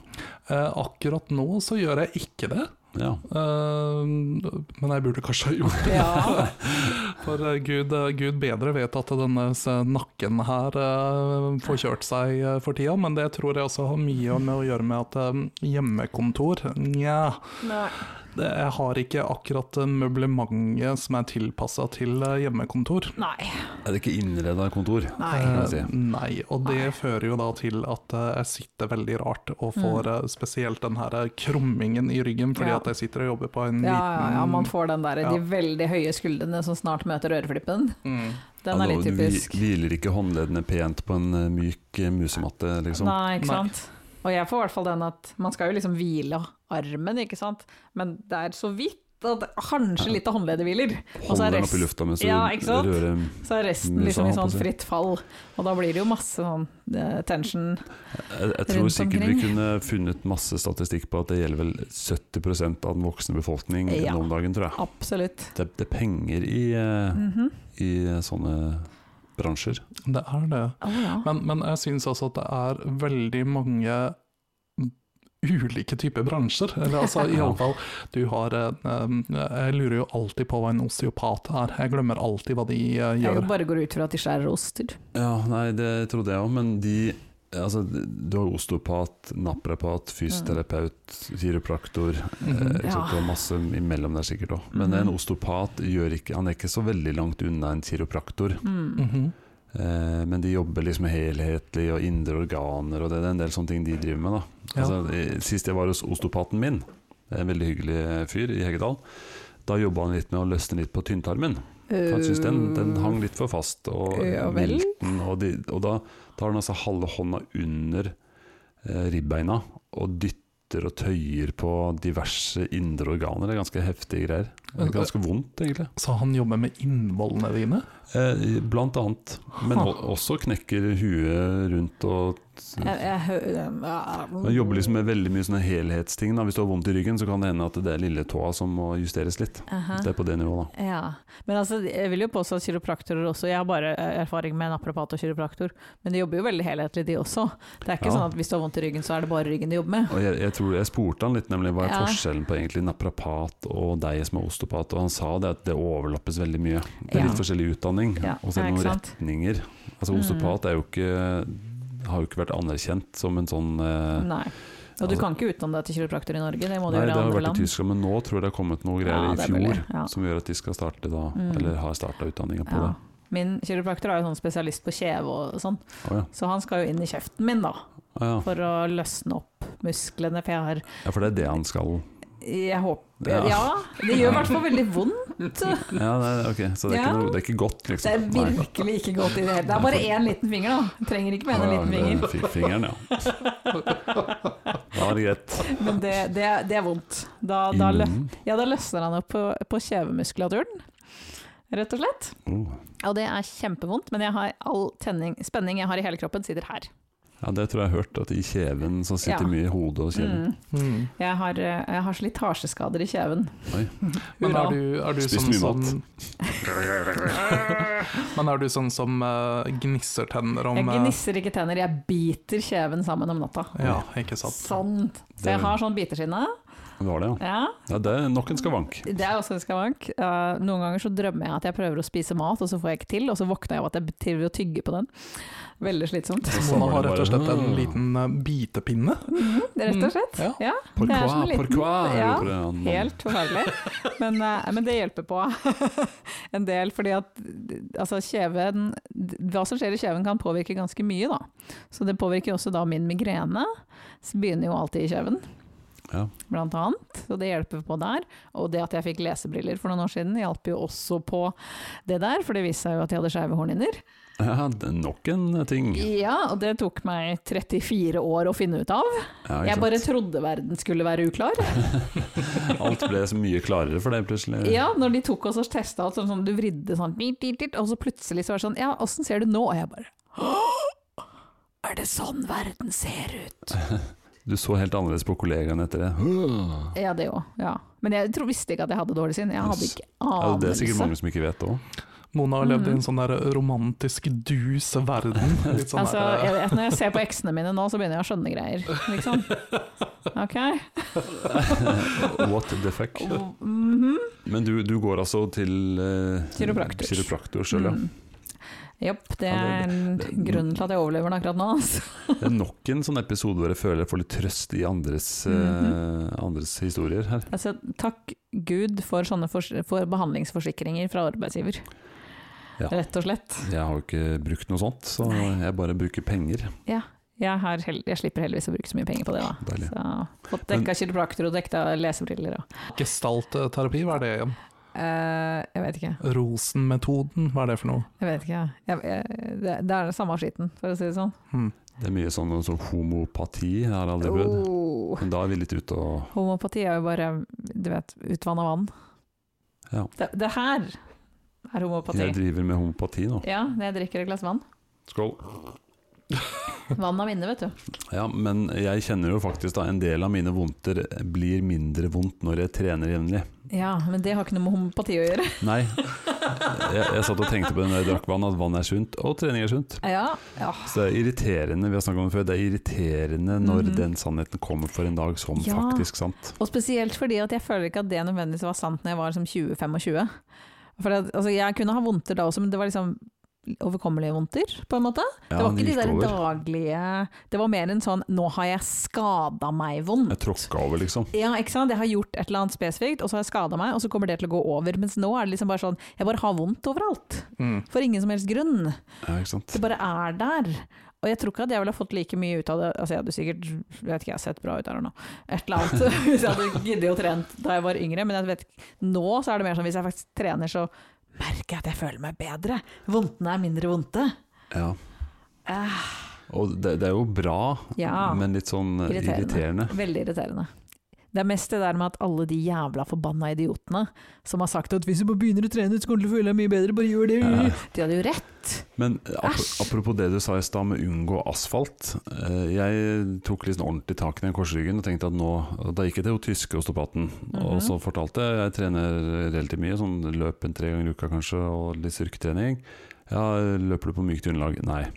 Eh, akkurat nå så gjør jeg ikke det,
Ja.
eh, men jeg burde kanskje ha gjort det.
Ja.
For eh, Gud, eh, Gud bedre vet at denne s- nakken her eh, får kjørt seg eh, for tida, men det tror jeg også har mye med å gjøre med at eh, hjemmekontor, nja.
Nei.
Det, jeg har ikke akkurat eh, møblementet som er tilpassa til eh, hjemmekontor.
Nei.
Er det ikke innreda kontor?
Nei.
kan jeg si.
Eh, Nei, og det fører jo da til at eh, jeg sitter veldig rart, og får eh, spesielt den her eh, krummingen i ryggen fordi
Mm. Ja.
at jeg sitter og jobber på en
Ja, ja,
liten
ja, man får den der,
Ja.
de veldig høye skuldrene som snart møter øreflippen.
Mm.
Den
Ja,
er litt
da- du
typisk.
hvi- Hviler ikke håndleddene pent på en eh, myk eh, musematte, liksom?
Nei, ikke
Nei.
sant. Og jeg får i hvert fall den at man skal jo liksom hvile armen, ikke sant. Men det er så vidt at kanskje litt av håndleddet hviler. Og så
Holder
er
den opp i
rest-
lufta mens du
Ja, ikke sant?
rører
Så er resten
Musa,
liksom i
holdt på å
sånn
si.
fritt fall. Og da blir det jo masse sånn eh, tension.
Jeg, jeg tror
Rundt
sikkert vi
omkring.
kunne funnet masse statistikk på at det gjelder vel 70 av den voksne befolkning
Ja.
nå om dagen, tror jeg.
Absolutt.
Det, det er penger i, eh,
Mhm.
i sånne bransjer.
Det er det.
Å, ja.
Men, men jeg syns også at det er veldig mange ulike typer bransjer. Eller altså, i
Ja.
alle fall, du har eh, em, Jeg lurer jo alltid på hva en osteopat er. Jeg glemmer alltid hva de eh,
Jeg
gjør.
bare går ut fra at de skjærer oster.
Ja, nei, det trodde jeg òg, men de Altså, du har osteopat, naprapat, fysioterapeut, kiropraktor eh,
Mm. Mhm.
ikke sant? Du har masse imellom der sikkert òg. Men
Mhm.
en osteopat gjør ikke, han er ikke så veldig langt unna en kiropraktor.
Mm.
Mhm.
Eh, men de jobber liksom helhetlig og indre organer og det, det er en del sånne ting de driver med. da
Ja.
altså, eh, Sist jeg var hos osteopaten min, en veldig hyggelig fyr i Heggedal, da jobba han litt med å løsne litt på tynntarmen. For Han syntes den,
Uh,
den hang litt for fast. Og,
Ja vel.
milten, og, de, og da tar han altså halve hånda under eh, ribbeina og dytter og tøyer på diverse indre organer. Det er ganske heftige greier. Det er ganske vondt, egentlig.
Så han jobber med innvollene dine?
Eh, blant annet. Men
Ha.
o- også knekker huet rundt og
Jeg, jeg, hø-
han
ja.
jobber liksom med veldig mye sånne helhetsting. Da. Hvis du har vondt i ryggen, så kan det hende at det er lille tåa som må justeres litt.
Aha.
Det er på det nivået, da.
Ja, men altså, jeg vil jo påstå at kiropraktorer også Jeg har bare eh, erfaring med naprapat og kiropraktor, men de jobber jo veldig helhetlig, de også. Det er ikke
Ja.
sånn at hvis du har vondt i ryggen, så er det bare ryggen de jobber med.
Og jeg, jeg, tror, jeg spurte han litt nemlig hva er
Ja.
forskjellen på egentlig naprapat og deg som er osteopat, og han sa det at det overlappes veldig mye. Det er
Ja.
litt forskjellig utdanning,
Ja,
og så er
ja,
det
ikke
noen
sant?
retninger. Altså
Mm.
Osteopat er jo ikke, har jo ikke vært anerkjent som en sånn eh,
Nei. Og du
Altså-
kan ikke utdanne deg til kiropraktor i Norge, det må du
Nei, det
gjøre i
har vært
andre
i
land.
Tyskland, men nå tror jeg det har kommet noe greier
Ja, det
i
er
fjor
mulig, ja.
som gjør at de skal starte da,
Mm.
eller har starta utdanninga på
Ja.
det.
Min kiropraktor er jo sånn spesialist på kjeve og sånn,
Å ja.
så han skal jo inn i kjeften min da,
Å Ah, ja.
for å løsne opp musklene, for jeg har
ja, for det er det han skal
Jeg håper Ja,
Ja.
det gjør i hvert fall veldig vondt.
Ja, det er, ok, Så det er,
Ja.
ikke, noe, det er ikke godt,
Det er
liksom? Nei.
virkelig ikke godt i det hele Det er bare én liten finger, da. Trenger ikke mer enn en liten
Å ja,
finger.
det er fi- Fingeren, ja. Da er det greit.
Men det, det, det er vondt. Da, da, lø,
Mm.
ja, da løsner han opp på, på kjevemuskulaturen, rett og slett.
Oh.
Og det er kjempevondt, men jeg har all tenning, spenning jeg har i hele kroppen, sitter her.
Ja, det tror jeg jeg har hørt, at i kjeven så sitter
Ja.
mye i hodet og kjeven.
Mm.
Mm.
Jeg, har, eh, jeg har slitasjeskader i kjeven.
Oi.
Men
Hurra.
er du, er du
Spist
sånn
mye
som
mat.
Men er du sånn som eh, gnisser tenner om
Jeg
eh,
gnisser ikke tenner, jeg biter kjeven sammen om natta.
Ja, ikke sant.
Sånn. Så jeg har sånn biteskinne.
Det var det, ja.
Ja.
ja det er nok en skavank.
Det er også en skavank. Eh, noen ganger så drømmer jeg at jeg prøver å spise mat, og så får jeg ikke til, og så våkner jeg av at jeg driver og tygger på den. Veldig slitsomt.
Og så
Mona
var
har
det
rett og
bare,
slett en
«Hmm,
liten eh, bitepinne.
Det er Rett og slett.
Ja.
Ja,
Pourquoi,
jeg er som en liten-
pourquoi,
Ja,
roper han.
helt forferdelig. Men, eh, men det hjelper på en del, fordi at altså, kjeven Hva som skjer i kjeven kan påvirke ganske mye, da. Så det påvirker også da min migrene. Så begynner jo alltid i kjeven.
Ja.
Blant annet, så det hjelper på der. Og det at jeg fikk lesebriller for noen år siden hjalp jo også på det der, for det viste seg jo at jeg hadde skeive hornhinner.
Ja, det er nok en ting.
Ja, og det tok meg 34 år å finne ut av.
Ja, ikke
Jeg
sant?
bare trodde verden skulle være uklar.
Alt ble så mye klarere for deg plutselig.
Ja, når de tok oss og testa alt, sånn, sånn, du vridde sånn, dit, dit, dit, og så plutselig så var det sånn, ja, åssen ser du nå? Og jeg bare «Åh, Er det sånn verden ser ut?
Du så helt annerledes på kollegaen etter det.
Ja, det jo. Ja. Men jeg tror, visste ikke at jeg hadde dårlig sinn. Jeg hadde
Yes.
ikke
Ja, det er sikkert
anelse.
mange som ikke vet òg.
Mona har levd i
Mm.
en sånn der romantisk dus verden. Litt sånn
altså,
der, eh,
jeg vet, når jeg ser på eksene mine nå, så begynner jeg å skjønne greier, liksom. Ok?
What the fuck?
Mhm.
Men du, du går altså til eh,
Kiropraktor.
kiropraktor selv, ja.
Mm. Jopp, det
Ja,
er grunnen til at jeg overlever den akkurat nå. Altså.
Det er nok en sånn episode hvor jeg føler jeg får litt trøst i andres, eh,
Mhm.
andres historier her.
Altså, takk Gud for sånne fors for behandlingsforsikringer fra arbeidsgiver.
Ja.
Rett og slett.
Jeg har jo ikke brukt noe sånt, så jeg bare bruker penger.
Jeg, har hel jeg slipper heldigvis å bruke så mye penger på det. da.
Deilig.
Så Fått dekka kiropraktor og dekka lesebriller og
Gestaltterapi, hva er det igjen?
Eh, Jeg vet ikke.
Rosenmetoden, hva er det for noe?
Jeg vet ikke. Jeg, jeg, det, det er den samme skitten, for å si det sånn.
Hmm.
Det er mye sånn, sånn homopati jeg har aldri prøvd.
Oh.
Men da er vi litt ute og
Homopati er jo bare du vet, utvanna vann.
Ja.
Det, det her er homopati.
Jeg driver med homopati nå.
Ja, når jeg drikker et glass vann.
Skål.
Vann er minne, vet du.
Ja, men jeg kjenner jo faktisk da en del av mine vondter blir mindre vondt når jeg trener jevnlig.
Ja, men det har ikke noe med homopati å gjøre.
Nei. Jeg, jeg satt og tenkte på det når jeg drakk vann, at vann er sunt, og trening er sunt.
Ja, ja.
Så det er irriterende, vi har snakket om det før, det er irriterende når
Mhm.
den sannheten kommer for en dag som
Ja.
faktisk sant.
Og spesielt fordi at jeg føler ikke at det nødvendigvis var sant når jeg var som 20-25. For at, altså, jeg kunne ha vondter da også, men det var liksom overkommelige vondter, på en måte.
Ja,
det var
den
ikke de der
gikk over.
daglige Det var mer en sånn 'nå har jeg skada meg'-vondt.
Jeg tråkka over, liksom.
Ja, ikke sant? Jeg har gjort et eller annet spesifikt, og så har jeg skada meg, og så kommer det til å gå over. Mens nå er det liksom bare sånn Jeg bare har vondt overalt.
Mm.
For ingen som helst grunn.
Ja, ikke sant?
Det bare er der. Og jeg tror ikke at jeg ville ha fått like mye ut av det. Altså, jeg hadde sikkert jeg vet ikke, jeg har sett bra ut her og nå. Et eller annet. Hvis jeg hadde giddet å trent da jeg var yngre. Men jeg vet, ikke- nå så er det mer sånn hvis jeg faktisk trener, så merker jeg at jeg føler meg bedre. Vondtene er mindre vondte.
Ja.
Eh,
Og det, det er jo bra,
Ja.
men litt sånn eh,
Irriterende.
irriterende.
veldig irriterende. Det er mest det der med at alle de jævla forbanna idiotene som har sagt at hvis du bare begynner å trene, så kommer du til å føle deg mye bedre, bare gjør
Ja.
det. De hadde jo rett.
Men eh, ap
Æsj.
apropos det du sa i stad med unngå asfalt. eh, Jeg tok litt sånn ordentlig tak i den korsryggen og tenkte at nå og Da gikk jeg til hun tyske osteopaten,
Mhm.
og så fortalte jeg Jeg trener relativt mye, sånn løp en tre ganger i uka kanskje, og litt styrketrening. Ja, løper du på mykt underlag? Nei.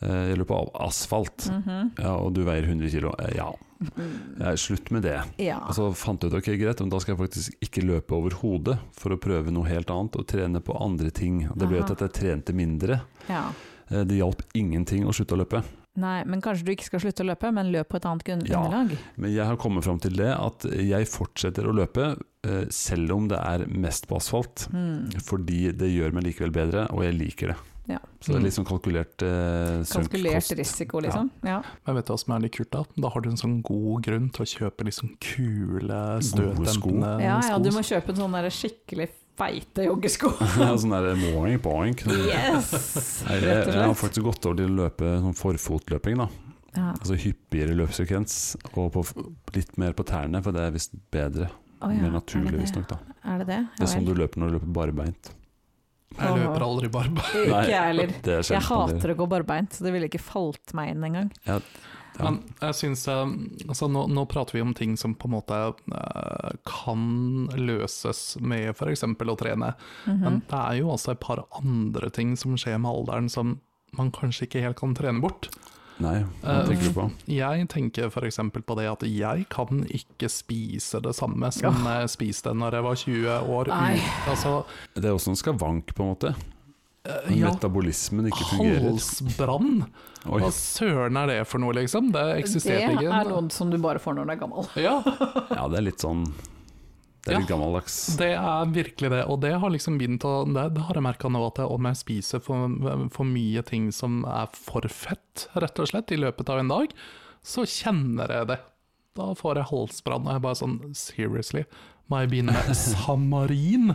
Eh, Jeg løper på av- asfalt.
Mhm.
Ja, og du veier 100 kilo? Eh, Ja. Altså, Jeg er slutt med det.
Ja.
Og så fant jeg ut ok, greit, men da skal jeg faktisk ikke løpe over hodet for å prøve noe helt annet og trene på andre ting. Det ble
Aha.
til at jeg trente mindre.
ja.
Eh, Det hjalp ingenting å slutte å løpe.
Nei, men kanskje du ikke skal slutte å løpe, men løp på et annet grunn-
Ja.
underlag.
Men jeg har kommet fram til det at jeg fortsetter å løpe eh, selv om det er mest på asfalt.
Mm.
Fordi det gjør meg likevel bedre, og jeg liker det.
Ja. Mm.
Så det er litt sånn kalkulert eh, sunt
Kalkulert
kost.
risiko, liksom. Ja.
Men vet du hva som er litt kult, da? Da har du en sånn god grunn til å kjøpe liksom kule, støtdempende
sko.
sko.
Ja. ja, du må kjøpe en sånn der skikkelig feite joggesko.
Ja, sånn der boink, boink.
Yes!
Nei, jeg,
Rett og
jeg har
slett.
faktisk gått over til å løpe sånn forfotløping, da.
Ja.
Altså hyppigere løpssekvens, og på, f- litt mer på tærne, for det er visst bedre.
Å ja,
Mer naturlig,
er det det?
visstnok. da.
Er det det?
Det er sånn du løper når du løper barbeint.
Jeg løper aldri barbeint.
Ikke
Nei,
jeg heller.
Det er
Jeg
sjelden det-
hater å gå barbeint, så det ville ikke falt meg inn engang.
Ja.
Men jeg synes, eh, altså, nå, nå prater vi om ting som på en måte eh, kan løses med f.eks. å trene.
Mhm.
Men det er jo også et par andre ting som skjer med alderen som man kanskje ikke helt kan trene bort.
Nei, hva
Eh,
tenker du på?
Jeg tenker f.eks. på det at jeg kan ikke spise det samme som jeg spiste når jeg var 20 år.
Nei.
Altså,
Det er også en skavank, på en måte.
eh,
Når
ja,
Metabolismen ikke fungerer.
halsbrann!
Oi,
Hva søren er det for noe, liksom? Det
Det
eksisterte ikke.
er noe som du bare får når du er gammel.
Ja,
ja, det er litt sånn Det er litt gammeldags.
det er virkelig det. Og det har liksom begynt å Det, det har jeg merka nå, at jeg, om jeg spiser for, for mye ting som er for fett, rett og slett, i løpet av en dag, så kjenner jeg det. Da får jeg halsbrann, og jeg er bare sånn Seriously? Må jeg begynne med samarin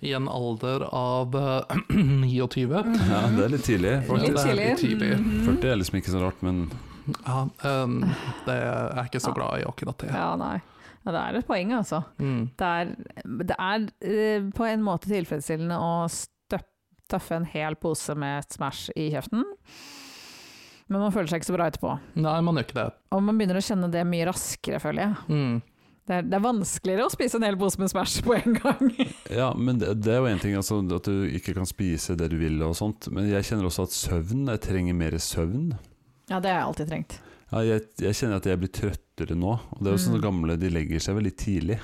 i en alder av eh, 29?
Ja, det er litt tidlig.
Ja,
faktisk.
det er litt tidlig.
Mhm.
40 er liksom ikke så rart, men
Ja, um, det er jeg ikke så glad i akkurat det.
Ja, nei. Ja, det er et poeng, altså.
Mm.
Det er, det er eh, på en måte tilfredsstillende å støp- støffe en hel pose med Smash i kjeften, men man føler seg ikke så bra etterpå.
Nei, man gjør ikke det.
Og man begynner å kjenne det mye raskere, føler jeg.
Mm.
Det er, det er vanskeligere å spise en hel pose med Smash på en gang.
Ja, men det, det er jo en ting altså, at du ikke kan spise det du vil og sånt. Men jeg kjenner også at søvn, jeg trenger mer søvn.
Ja, det har jeg alltid trengt.
Ja, jeg, jeg kjenner at jeg blir trøttere nå. Og det er jo sånne
Mm.
gamle, de legger seg veldig tidlig.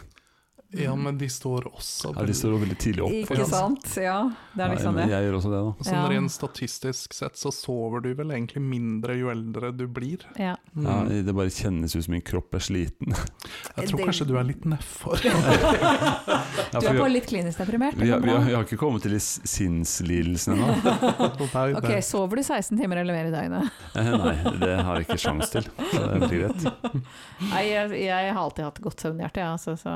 Ja, men de står også
Ja, de står jo veldig tidlig opp.
Ikke sant? Ja, det er liksom
Nei, men
det.
Jeg gjør også det, da.
Sånn
Ja.
rent statistisk sett så sover du vel egentlig mindre jo eldre du blir.
Ja.
Ja,
Mm.
det bare kjennes ut som min kropp er sliten.
Jeg tror
det-
kanskje du er litt nedfor.
Ja,
Du
for
er
vi,
bare litt klinisk deprimert.
vi, har- vi, har, vi har ikke kommet til de s- sinnslidelsene ennå.
Ok, sover du 16 timer eller mer i døgnet?
Eh, Nei, det har jeg ikke sjans til. Så det er veldig greit.
Nei, jeg, jeg har alltid hatt godt søvnhjerte, ja, så, så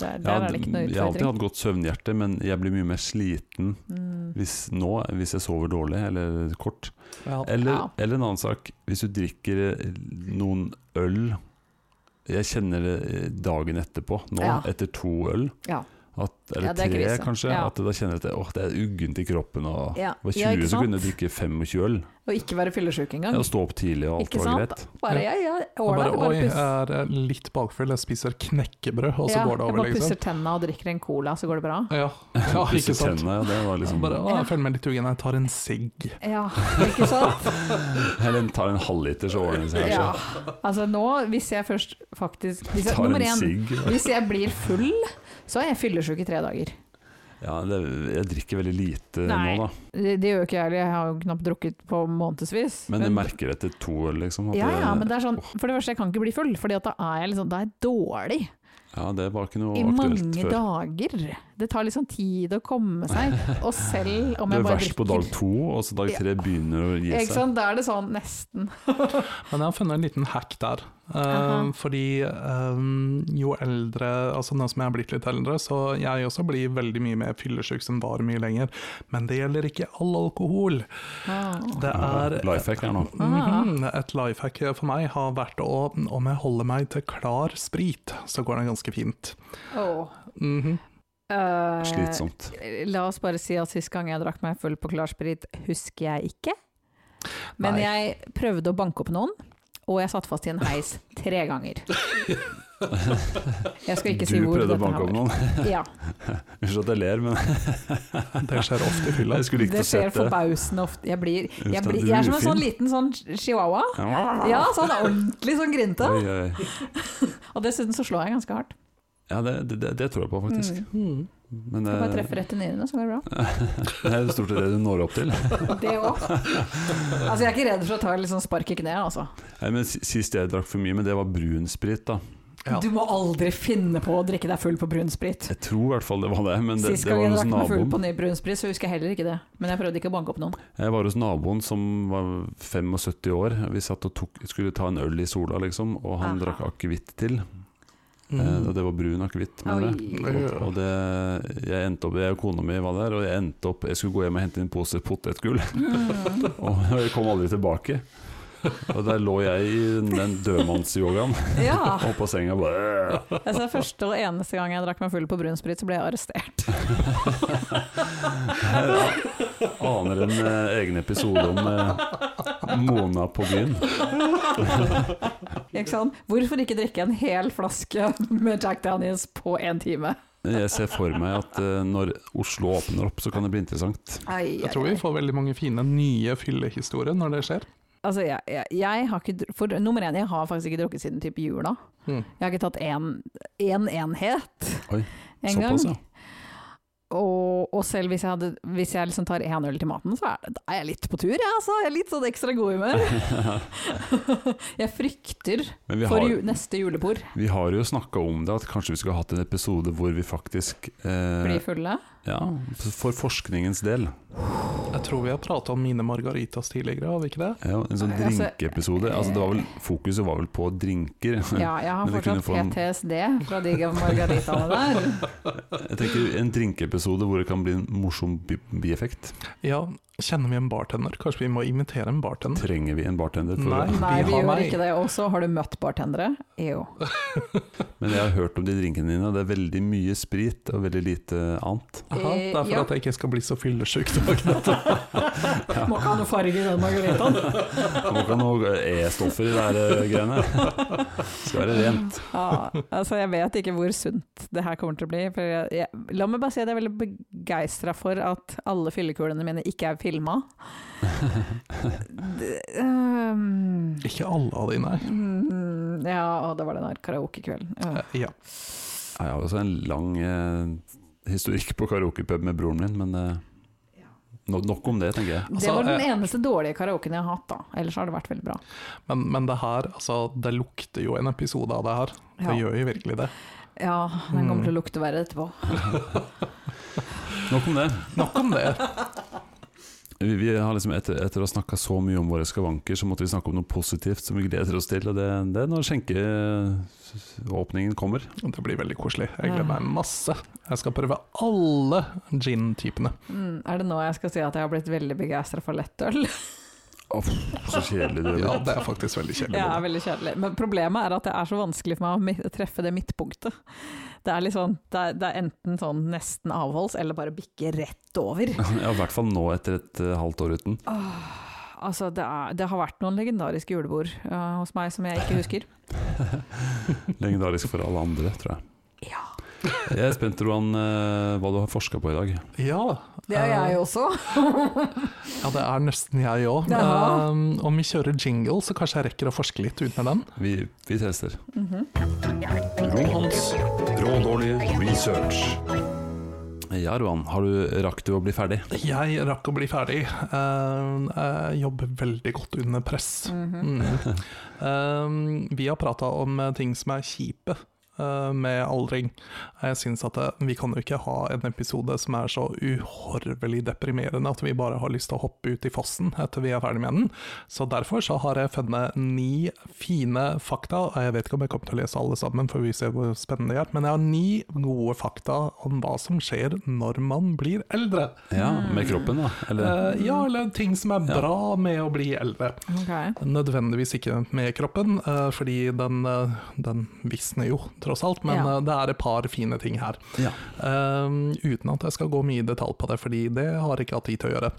der, der
Ja,
er det ikke noe
jeg har alltid
utfordring.
hatt godt søvnhjerte, men jeg blir mye mer sliten
Mm.
hvis, nå hvis jeg sover dårlig eller kort.
Ja.
Eller,
Ja.
eller en annen sak, hvis du drikker eh, noen øl Jeg kjenner det dagen etterpå, nå,
Ja.
etter to øl.
Ja.
At, eller
Ja, det er
tre,
krise.
kanskje.
Ja.
At du da kjenner at det, åh, det er uggent i kroppen. Og
Ja.
det var 20,
Ja, ikke
så kunne
sant?
jeg drikke 25 øl.
Og ikke være fyllesyk
Ja,
engang.
altså, og stå opp tidlig, og alt
Ikke
var
sant?
greit.
Bare jeg, jeg
Og
åler,
bare,
jeg
Oi,
bare
jeg
pusser.
er eh, litt bakfull, jeg spiser knekkebrød, og så
Ja,
går det
Jeg
over,
bare pusser
liksom.
tennene og drikker en cola, så går det bra.
Ja, ja Ah, ikke
Pusse
sant.
tennene, ja, det var liksom
Bare, å, jeg føler meg litt uggen, jeg tar en sigg.
Ja, ikke sant?
Eller tar en halvliter, så ordner det seg
Ja.
kanskje.
Altså nå, hvis jeg først faktisk hvis jeg,
Tar
Nummer
en
én,
sigg.
hvis jeg blir full, så er jeg fyllesyk i tre dager.
Ja, det, jeg drikker veldig lite
Nei.
nå, da.
Det, det gjør jo ikke jeg heller, jeg har jo knapt drukket på månedsvis.
Men jeg merker etter to øl, liksom. at
ja,
det-
ja, men det er sånn, for det første, jeg kan ikke bli full, fordi at da er jeg liksom, da er jeg dårlig
ja, det var ikke noe
i
aktuelt
mange
før.
dager. Det tar liksom tid å komme seg, og selv om
Det
jeg
er
bare
verst på dag
drikker
to, og så dag
Ja.
tre begynner å gi
Ikke
seg.
sant, da er det sånn nesten.
Men jeg har funnet en liten hack der. Eh,
Aha.
Fordi eh, jo eldre Altså nå som jeg er blitt litt eldre, så jeg også blir veldig mye mer fyllesyk som var mye lenger. Men det gjelder ikke all alkohol.
Ah.
Det er
Lifehack her nå.
Mhm, Et lifehack for meg har vært å Om jeg holder meg til klar sprit, så går det ganske fint.
Åh.
Mhm.
Eh,
Slitsomt.
La oss bare si at sist gang jeg drakk meg full på klarsprit, husker jeg ikke. Men
Nei.
jeg prøvde å banke opp noen, og jeg satt fast i en heis tre ganger. Jeg skal ikke si
du
hvor
prøvde å
dette
banke
her
opp
var.
noen.
Ja,
Unnskyld at jeg ler, men
Det skjer ofte i fylla.
jeg skulle likt
det
å
skjer
sett det.
forbausende ofte. Jeg, blir,
da,
jeg, blir,
du
jeg er
er
som en
fin.
sånn liten sånn chihuahua. Ja, sånn ordentlig sånn grinte.
Oi, oi.
Og dessuten så slår jeg ganske hardt.
Ja, det, det, det tror jeg på, faktisk.
Mm.
Mhm.
Men
Skal bare
eh,
treffe rett i nyrene, så går det bra.
det er stort sett det du når opp til.
Det òg. Altså, jeg er ikke redd for å ta litt sånn spark i kneet, altså.
Nei, men si- Sist jeg drakk for mye, men det var brunsprit, da.
Ja.
Du må aldri finne på å drikke deg full på brunsprit.
Jeg tror i hvert fall det var det, men det,
Sist
det
gang
var
jeg
hos
drakk meg full på
naboen.
ny brunsprit, så husker jeg heller ikke det. Men jeg prøvde ikke å banke opp noen.
Jeg var hos naboen som var 75 år. Vi satt og tok, skulle ta en øl i sola, liksom, og han
Aha.
drakk akevitt til. Eh,
Mm.
Mhm.
og det var brun akevitt, mener jeg. Og,
Ja.
og det, jeg endte opp, jeg og kona mi var der, og jeg endte opp Jeg skulle gå hjem og hente en pose potetgull,
Mm.
og jeg kom aldri tilbake. Og der lå jeg i den dødmannsyogaen
ja.
oppå senga bare
Altså, det første og eneste gang jeg drakk meg full på brunsprit, så ble jeg arrestert.
Jeg aner en eh, egen episode om eh, Mona på byen.
Ikke sant? Hvorfor ikke drikke en hel flaske med Jack Daniels på én time?
Jeg ser for meg at eh, når Oslo åpner opp, så kan det bli interessant.
Ai,
Jeg
ai,
tror vi
ai.
får veldig mange fine nye fyllehistorier når det skjer.
Altså, jeg, jeg, jeg har ikke dr- For nummer én, jeg har faktisk ikke drukket siden type jula.
Mhm.
Jeg har ikke tatt én en, enhet
Oi,
en gang.
Såpass, ja.
Og, og selv hvis jeg, hadde, hvis jeg liksom tar én øl til maten, så er, det, da er jeg litt på tur, jeg altså. Jeg er litt sånn ekstra god i humør. jeg frykter
Men vi
for
har,
ju neste julebord
vi har jo snakka om det, at kanskje vi skulle hatt en episode hvor vi faktisk eh,
blir fulle.
Ja, for forskningens del.
Jeg tror vi har prata om mine margaritas tidligere, har vi ikke det?
Ja, en sånn
Nei, altså, eh,
drinkeepisode. Altså, det var vel, fokuset var vel på drinker.
Ja, jeg har
Men vi kunne
fortsatt
få en-
PTSD fra de margaritaene der.
Jeg tenker En drinkeepisode hvor det kan bli en morsom bi- bieffekt.
Ja, kjenner vi en bartender? Kanskje vi må invitere en bartender?
Trenger vi en bartender? For
Nei.
Mm. Nei,
Vi
vi
har
gjør
meg.
ikke det. Og så har du møtt bartendere. E Jo.
Men jeg har hørt om de drinkene dine. Det er veldig mye sprit og veldig lite annet.
Aha,
Eh,
det er for
ja.
at jeg ikke skal bli så fyllesyk dagen etter.
Må ikke ha noe farge i den margaritaen.
Man kan ha noe E-stoffer i de her eh, greiene. Skal være rent.
Ja, altså jeg vet ikke hvor sunt det her kommer til å bli. For jeg, jeg, la meg bare si at jeg er veldig begeistra for at alle fyllekulene mine ikke er filma. Um,
Ikke alle av de, nei.
mm, ja, og det var den her karaokekvelden. Ja.
Eh, Ja.
Jeg har også en lang eh, historikk på karaokepub med broren min, men eh, no nok om det, tenker jeg.
det
altså,
var den
eh,
eneste dårlige karaoken jeg har hatt, da. Ellers har det vært veldig bra.
Men, men det her, altså, det lukter jo en episode av det her. Det
Ja,
gjør jo virkelig det.
ja den
Mm.
kommer til å lukte verre etterpå.
Nok om det.
Nok om det.
Vi, vi har liksom etter, etter å ha snakka så mye om våre skavanker, så måtte vi snakke om noe positivt som vi gleder oss til. Og det, det er når skjenkeåpningen kommer.
Det blir veldig koselig. Jeg gleder meg masse. Jeg skal prøve alle gin-typene.
Mm, er det nå jeg skal si at jeg har blitt veldig begeistra for lettøl?
Så kjedelig det
Ja,
blir.
det er faktisk veldig
Det er
kjedelig.
veldig kjedelig. Men problemet er at det er så vanskelig for meg å mi- treffe det midtpunktet. Det er, litt sånn, det er, det er enten sånn nesten avholds, eller bare bikke rett over.
Ja, I hvert fall nå etter et eh, halvt år uten.
Altså, det, er, det har vært noen legendariske julebord eh, hos meg som jeg ikke husker.
Legendarisk for alle andre, tror jeg.
Ja.
Jeg er spent, Roan, eh, hva du har forska på i dag.
Ja,
Det er jeg også.
ja, det er nesten jeg òg.
Jaha.
om vi kjører jingle, så kanskje jeg rekker å forske litt ut med den.
Vi, vi tester.
Mhm.
Rohans rådårlige research. greia, Roan? Har du, rakk du å bli ferdig?
Jeg rakk å bli ferdig. Eh, Jeg jobber veldig godt under press.
Mhm.
Mm. Um, vi har prata om eh, ting som er kjipe eh, med aldring. Jeg syns at eh, vi kan jo ikke ha en episode som er så uhorvelig deprimerende at vi bare har lyst til å hoppe ut i fossen etter vi er ferdig med den. Så derfor så har jeg funnet ni fine fakta, og jeg vet ikke om jeg kommer til å lese alle sammen, for vi ser hvor spennende det er, men jeg har ni gode fakta om hva som skjer når man blir eldre.
Ja, Med kroppen, da? Eller?
Eh, ja, eller ting som er bra med å bli eldre.
Ok.
Nødvendigvis ikke med kroppen, eh, fordi den, eh, den visner jo, tross alt. Men
Ja.
eh, det er et par fine ting her.
Ja.
Ehm, uten at jeg skal gå mye i detalj på det, fordi det har jeg ikke hatt tid til å gjøre.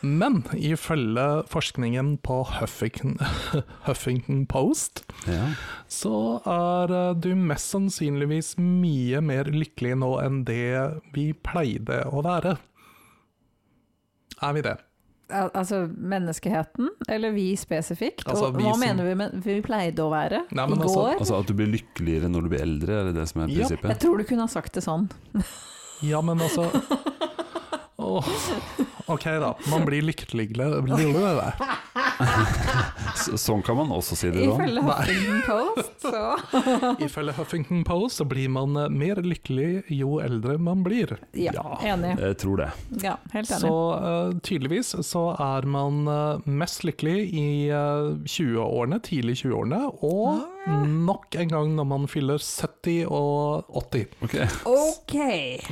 Men ifølge forskningen på Huffington, Huffington Post,
ja.
så er eh, du mest sannsynligvis mye mer lykkelig nå enn det vi pleide å være. Er vi det?
Al altså menneskeheten, eller vi spesifikt?
Altså,
og,
vi
hva
som-
mener vi med vi pleide å være
Nei,
i
men altså-
går?
Altså at du blir lykkeligere når du blir eldre, er det det som er
Ja.
jeg
prinsippet?
tror du kunne ha sagt det sånn.
Ja, men altså Åh, Ok, da. Man blir lykkeligere lille,
S- Sånn kan man også si det, Roan.
sånn?
Ifølge Huffington Post, så
Ifølge Huffington Post så blir man eh, mer lykkelig jo eldre man blir.
Ja, enig.
Jeg tror det.
Ja, helt enig.
Så eh, tydeligvis så er man eh, mest lykkelig i eh, 20-årene, tidlig 20-årene, og nok en gang når man fyller 70 og 80.
Ok,
Ok!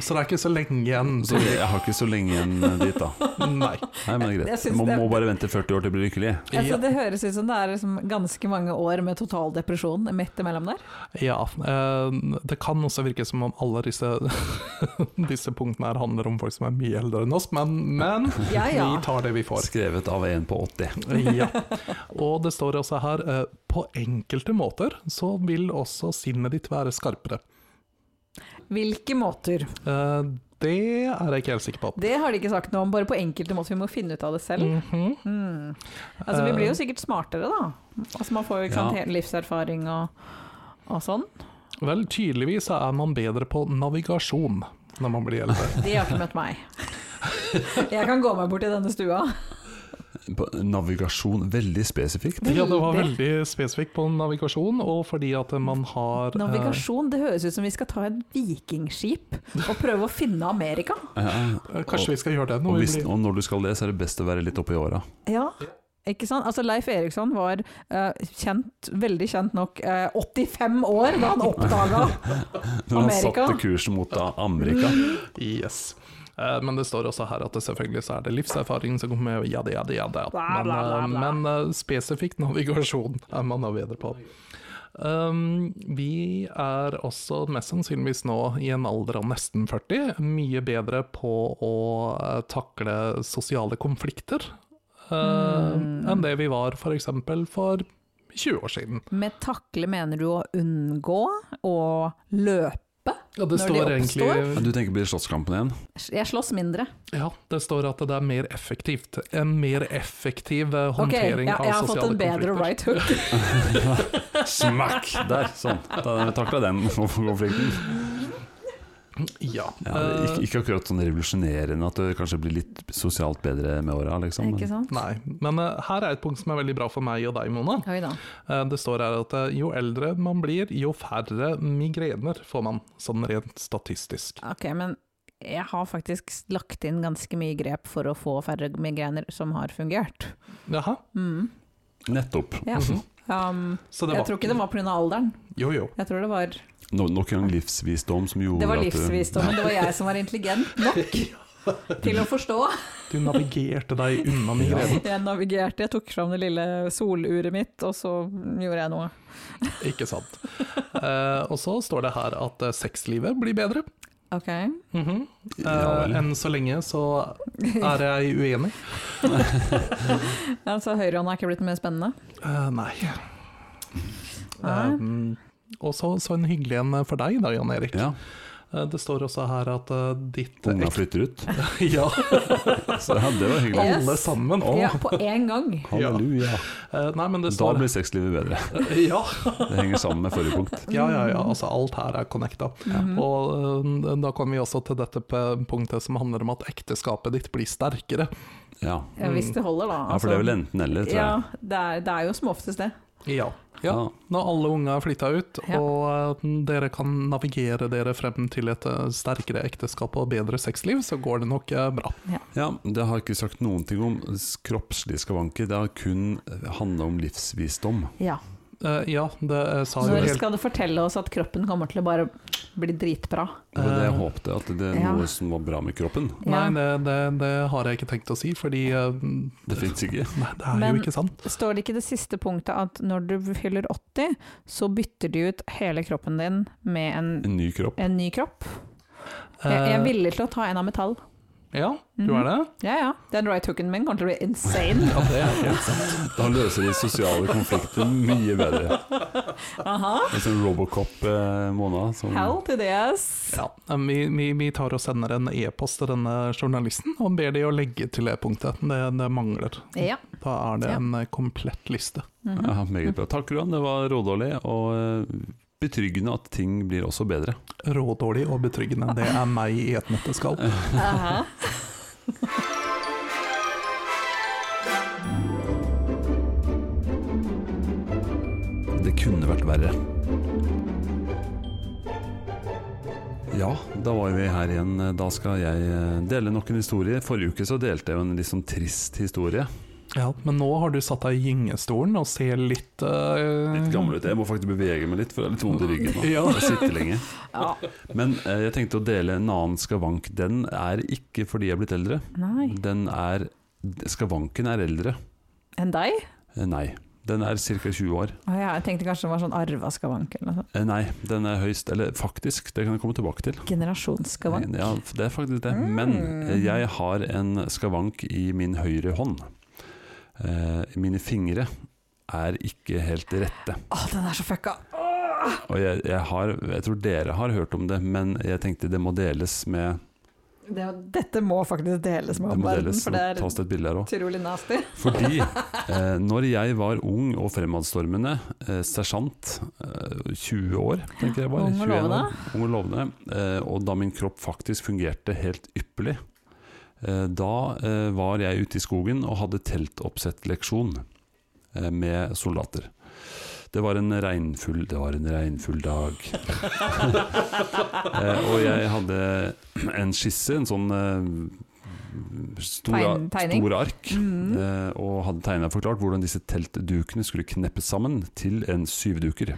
Så det er ikke så lenge igjen.
Så jeg har ikke så lenge igjen eh, dit, da.
Nei.
Nei, men det er
Jeg
greit.
synes
Man
det-
må bare vente 40 år til å bli lykkelig.
Altså, det høres ut som det er liksom ganske mange år med total depresjon midt imellom der.
Ja, eh, det kan også virke som om alle disse, disse punktene her handler om folk som er mye eldre enn oss, men, men
Ja, ja.
vi tar det vi får.
Skrevet av en på 80.
Ja. Og det står også her eh, på enkelte måter så vil også sinnet ditt være skarpere.
Hvilke måter?
Eh, det er jeg ikke helt sikker på.
Det har de ikke sagt noe om, bare på enkelte måter. Vi må finne ut av det selv.
Mhm.
Mm. Altså, vi
Eh.
blir jo sikkert smartere, da. Altså, man får jo ikke sant,
Ja.
hele livserfaring og, og sånn.
Vel, tydeligvis så er man bedre på navigasjon når man blir eldre.
De har ikke møtt meg. Jeg kan gå meg bort i denne stua.
Eh.
På navigasjon, veldig spesifikt.
Ja, det var veldig spesifikt på navigasjon, og fordi at man har eh,
Navigasjon, det høres ut som vi skal ta et vikingskip og prøve å finne Amerika.
Ja,
eh, Kanskje vi skal gjøre det
Og,
når vi
hvis,
blir
og når du skal det, så er det best å være litt oppi åra.
Ja, ikke sant? Altså Leif Eriksson var eh, kjent, veldig kjent nok, eh, 85 år da han oppdaga
Når han
Amerika.
satte kursen mot da Amerika.
Yes. Eh, Men det står også her at det selvfølgelig så er det livserfaring som kommer med jada, jada, jada.
Bla,
Men,
bla, bla,
eh,
bla.
men eh, spesifikt navigasjon er man da bedre på. Um, vi er også mest sannsynligvis nå i en alder av nesten 40 mye bedre på å eh, takle sosiale konflikter eh,
Mm.
enn det vi var for eksempel for 20 år siden.
Med takle mener du å unngå og løpe?
Ja,
Når
det
de
står egentlig
Men Du tenker på de slåsskampen igjen?
Jeg slåss mindre.
Ja, det står at det er mer effektivt. En mer effektiv eh,
Ok, jeg,
håndtering
jeg har
av
fått
sosiale
en bedre
konflikter.
right hook.
Smakk! Der, sånn. Da takla den konflikten.
Ja. eh,
Ja, det er ikke, ikke akkurat sånn revolusjonerende at du kanskje blir litt sosialt bedre med åra, liksom. Men,
Ikke
eh,
sant?
Nei, men eh, her er et punkt som er veldig bra for meg og deg, Mona.
Oi da.
Eh, Det står her at eh, jo eldre man blir, jo færre migrener får man, sånn rent statistisk.
Ok, men jeg har faktisk lagt inn ganske mye grep for å få færre migrener som har fungert.
Jaha.
Mm.
nettopp.
Ja. Um,
Så Mhm. det
jeg
var
tror ikke det var pga. alderen.
Jo, jo.
Jeg tror det var
No, nok en gang livsvisdom som gjorde
Det var
at eh, du-
livsvisdommen. Det var jeg som var intelligent nok til å forstå.
Du navigerte deg unna migrenen.
Jeg navigerte, jeg tok fram det lille soluret mitt, og så gjorde jeg noe.
Ikke sant. Eh, og så står det her at eh, sexlivet blir bedre.
Ok.
Mhm. Eh,
Ja vel.
enn så lenge så er jeg uenig.
Ja, så høyrehånda er ikke blitt mer spennende?
Eh, nei. Eh,
Nei.
Um, og så, så en hyggelig en for deg da, Jan Erik.
Ja.
Eh, Det står også her at eh, ditt
Unga
ek-
flytter ut.
Ja,
Så ja, det var hyggelig.
Yes.
alle sammen.
Ja, på én gang.
Halleluja.
Eh, Nei, men det
Da
står
blir sexlivet bedre.
Ja,
Det henger sammen med forrige punkt.
ja, ja. ja. Altså, alt her er connecta.
Mhm.
Og eh, da kommer vi også til dette p- punktet som handler om at ekteskapet ditt blir sterkere.
Ja.
Ja, hvis det holder, da. Altså,
ja, for det er vel enten-eller, tror
ja,
jeg.
det er, det er jo som oftest det.
Ja.
Ja.
Når alle unga er flytta ut,
Ja.
og eh, dere kan navigere dere frem til et eh, sterkere ekteskap og bedre sexliv, så går det nok eh, bra.
Ja, det har jeg ikke sagt noen ting om S- kroppslige skavanker. Det har kun handla om livsvisdom.
Ja.
Eh, Ja, det eh, sa jo
Når
helt
skal du fortelle oss at kroppen kommer til å bare bli dritbra?
Det var det jeg
Eh,
håpte, at det er
ja.
noe som var bra med kroppen.
Ja.
Nei, det, det, det har jeg ikke tenkt å si, fordi eh,
Det fins ikke.
Nei, det er
Men-
jo ikke sant.
Står det ikke det siste punktet at når du fyller 80, så bytter de ut hele kroppen din med en,
En ny kropp.
en ny kropp? Jeg, jeg Mhm. er villig til å ta en av metall.
Eh, Ja, Eh. du er det?
Ja ja, den right hooken min kommer til å bli insane.
Ja, det er helt sant.
Da løser de sosiale konflikter mye bedre.
Aha,
En sånn Robocop-måned. Som,
hell to this.
Ja, eh, vi, vi, vi tar og sender en e-post til denne journalisten og ber de å legge til det punktet. Det, det mangler.
Ja.
Da er det
Ja.
en eh, komplett liste.
Mhm.
ja, meget bra. Takk, Roan. Det var rådårlig, og eh, betryggende at ting blir også bedre.
Rådårlig og betryggende. Det er meg i et nøtteskall.
Aha.
Det kunne vært verre. Ja, da var vi her igjen. Da skal jeg eh, dele nok en historie. Forrige uke så delte jeg jo en litt sånn trist historie.
Ja, men nå har du satt deg i gyngestolen og ser litt eh,
Litt gammel ut. Jeg må faktisk bevege meg litt, for jeg har litt vondt i ryggen nå.
Ja.
Jeg sitter lenge.
Ja.
Men eh, jeg tenkte å dele en annen skavank. Den er ikke fordi jeg er blitt eldre.
Nei.
Den er Skavanken er eldre.
Enn deg?
Eh, Nei. Den er ca. 20 år.
Å ja, jeg tenkte kanskje det var sånn arva skavank eller noe sånt.
Eh, Nei, den er høyst Eller faktisk, det kan jeg komme tilbake til. Eh,
Generasjonsskavank.
Ja, det er faktisk det. Men eh,
Mm.
jeg har en skavank i min høyre hånd. Eh, mine fingre er ikke helt rette.
Å, den er så fucka! Åh.
Og jeg, jeg, har, jeg tror dere har hørt om det, men jeg tenkte det må deles med
Det, dette må faktisk deles med
Det må
omverdenen,
deles,
for
nå
det er
tas det et bilde her òg.
utrolig nasty.
Fordi eh, når jeg var ung og fremadstormende, eh, sersjant, eh, 20 år, tenker jeg var,
Ung og
21 år,
lovende.
ung og lovende, eh, og da min kropp faktisk fungerte helt ypperlig, eh, da eh, var jeg ute i skogen og hadde teltoppsettleksjon eh, med soldater. Det var en regnfull, det var en regnfull dag. eh, og jeg hadde en skisse, en sånn eh, stor,
Tegn- tegning.
stor ark,
Mm.
eh, og hadde tegna og forklart hvordan disse teltdukene skulle kneppes sammen til en syvduker.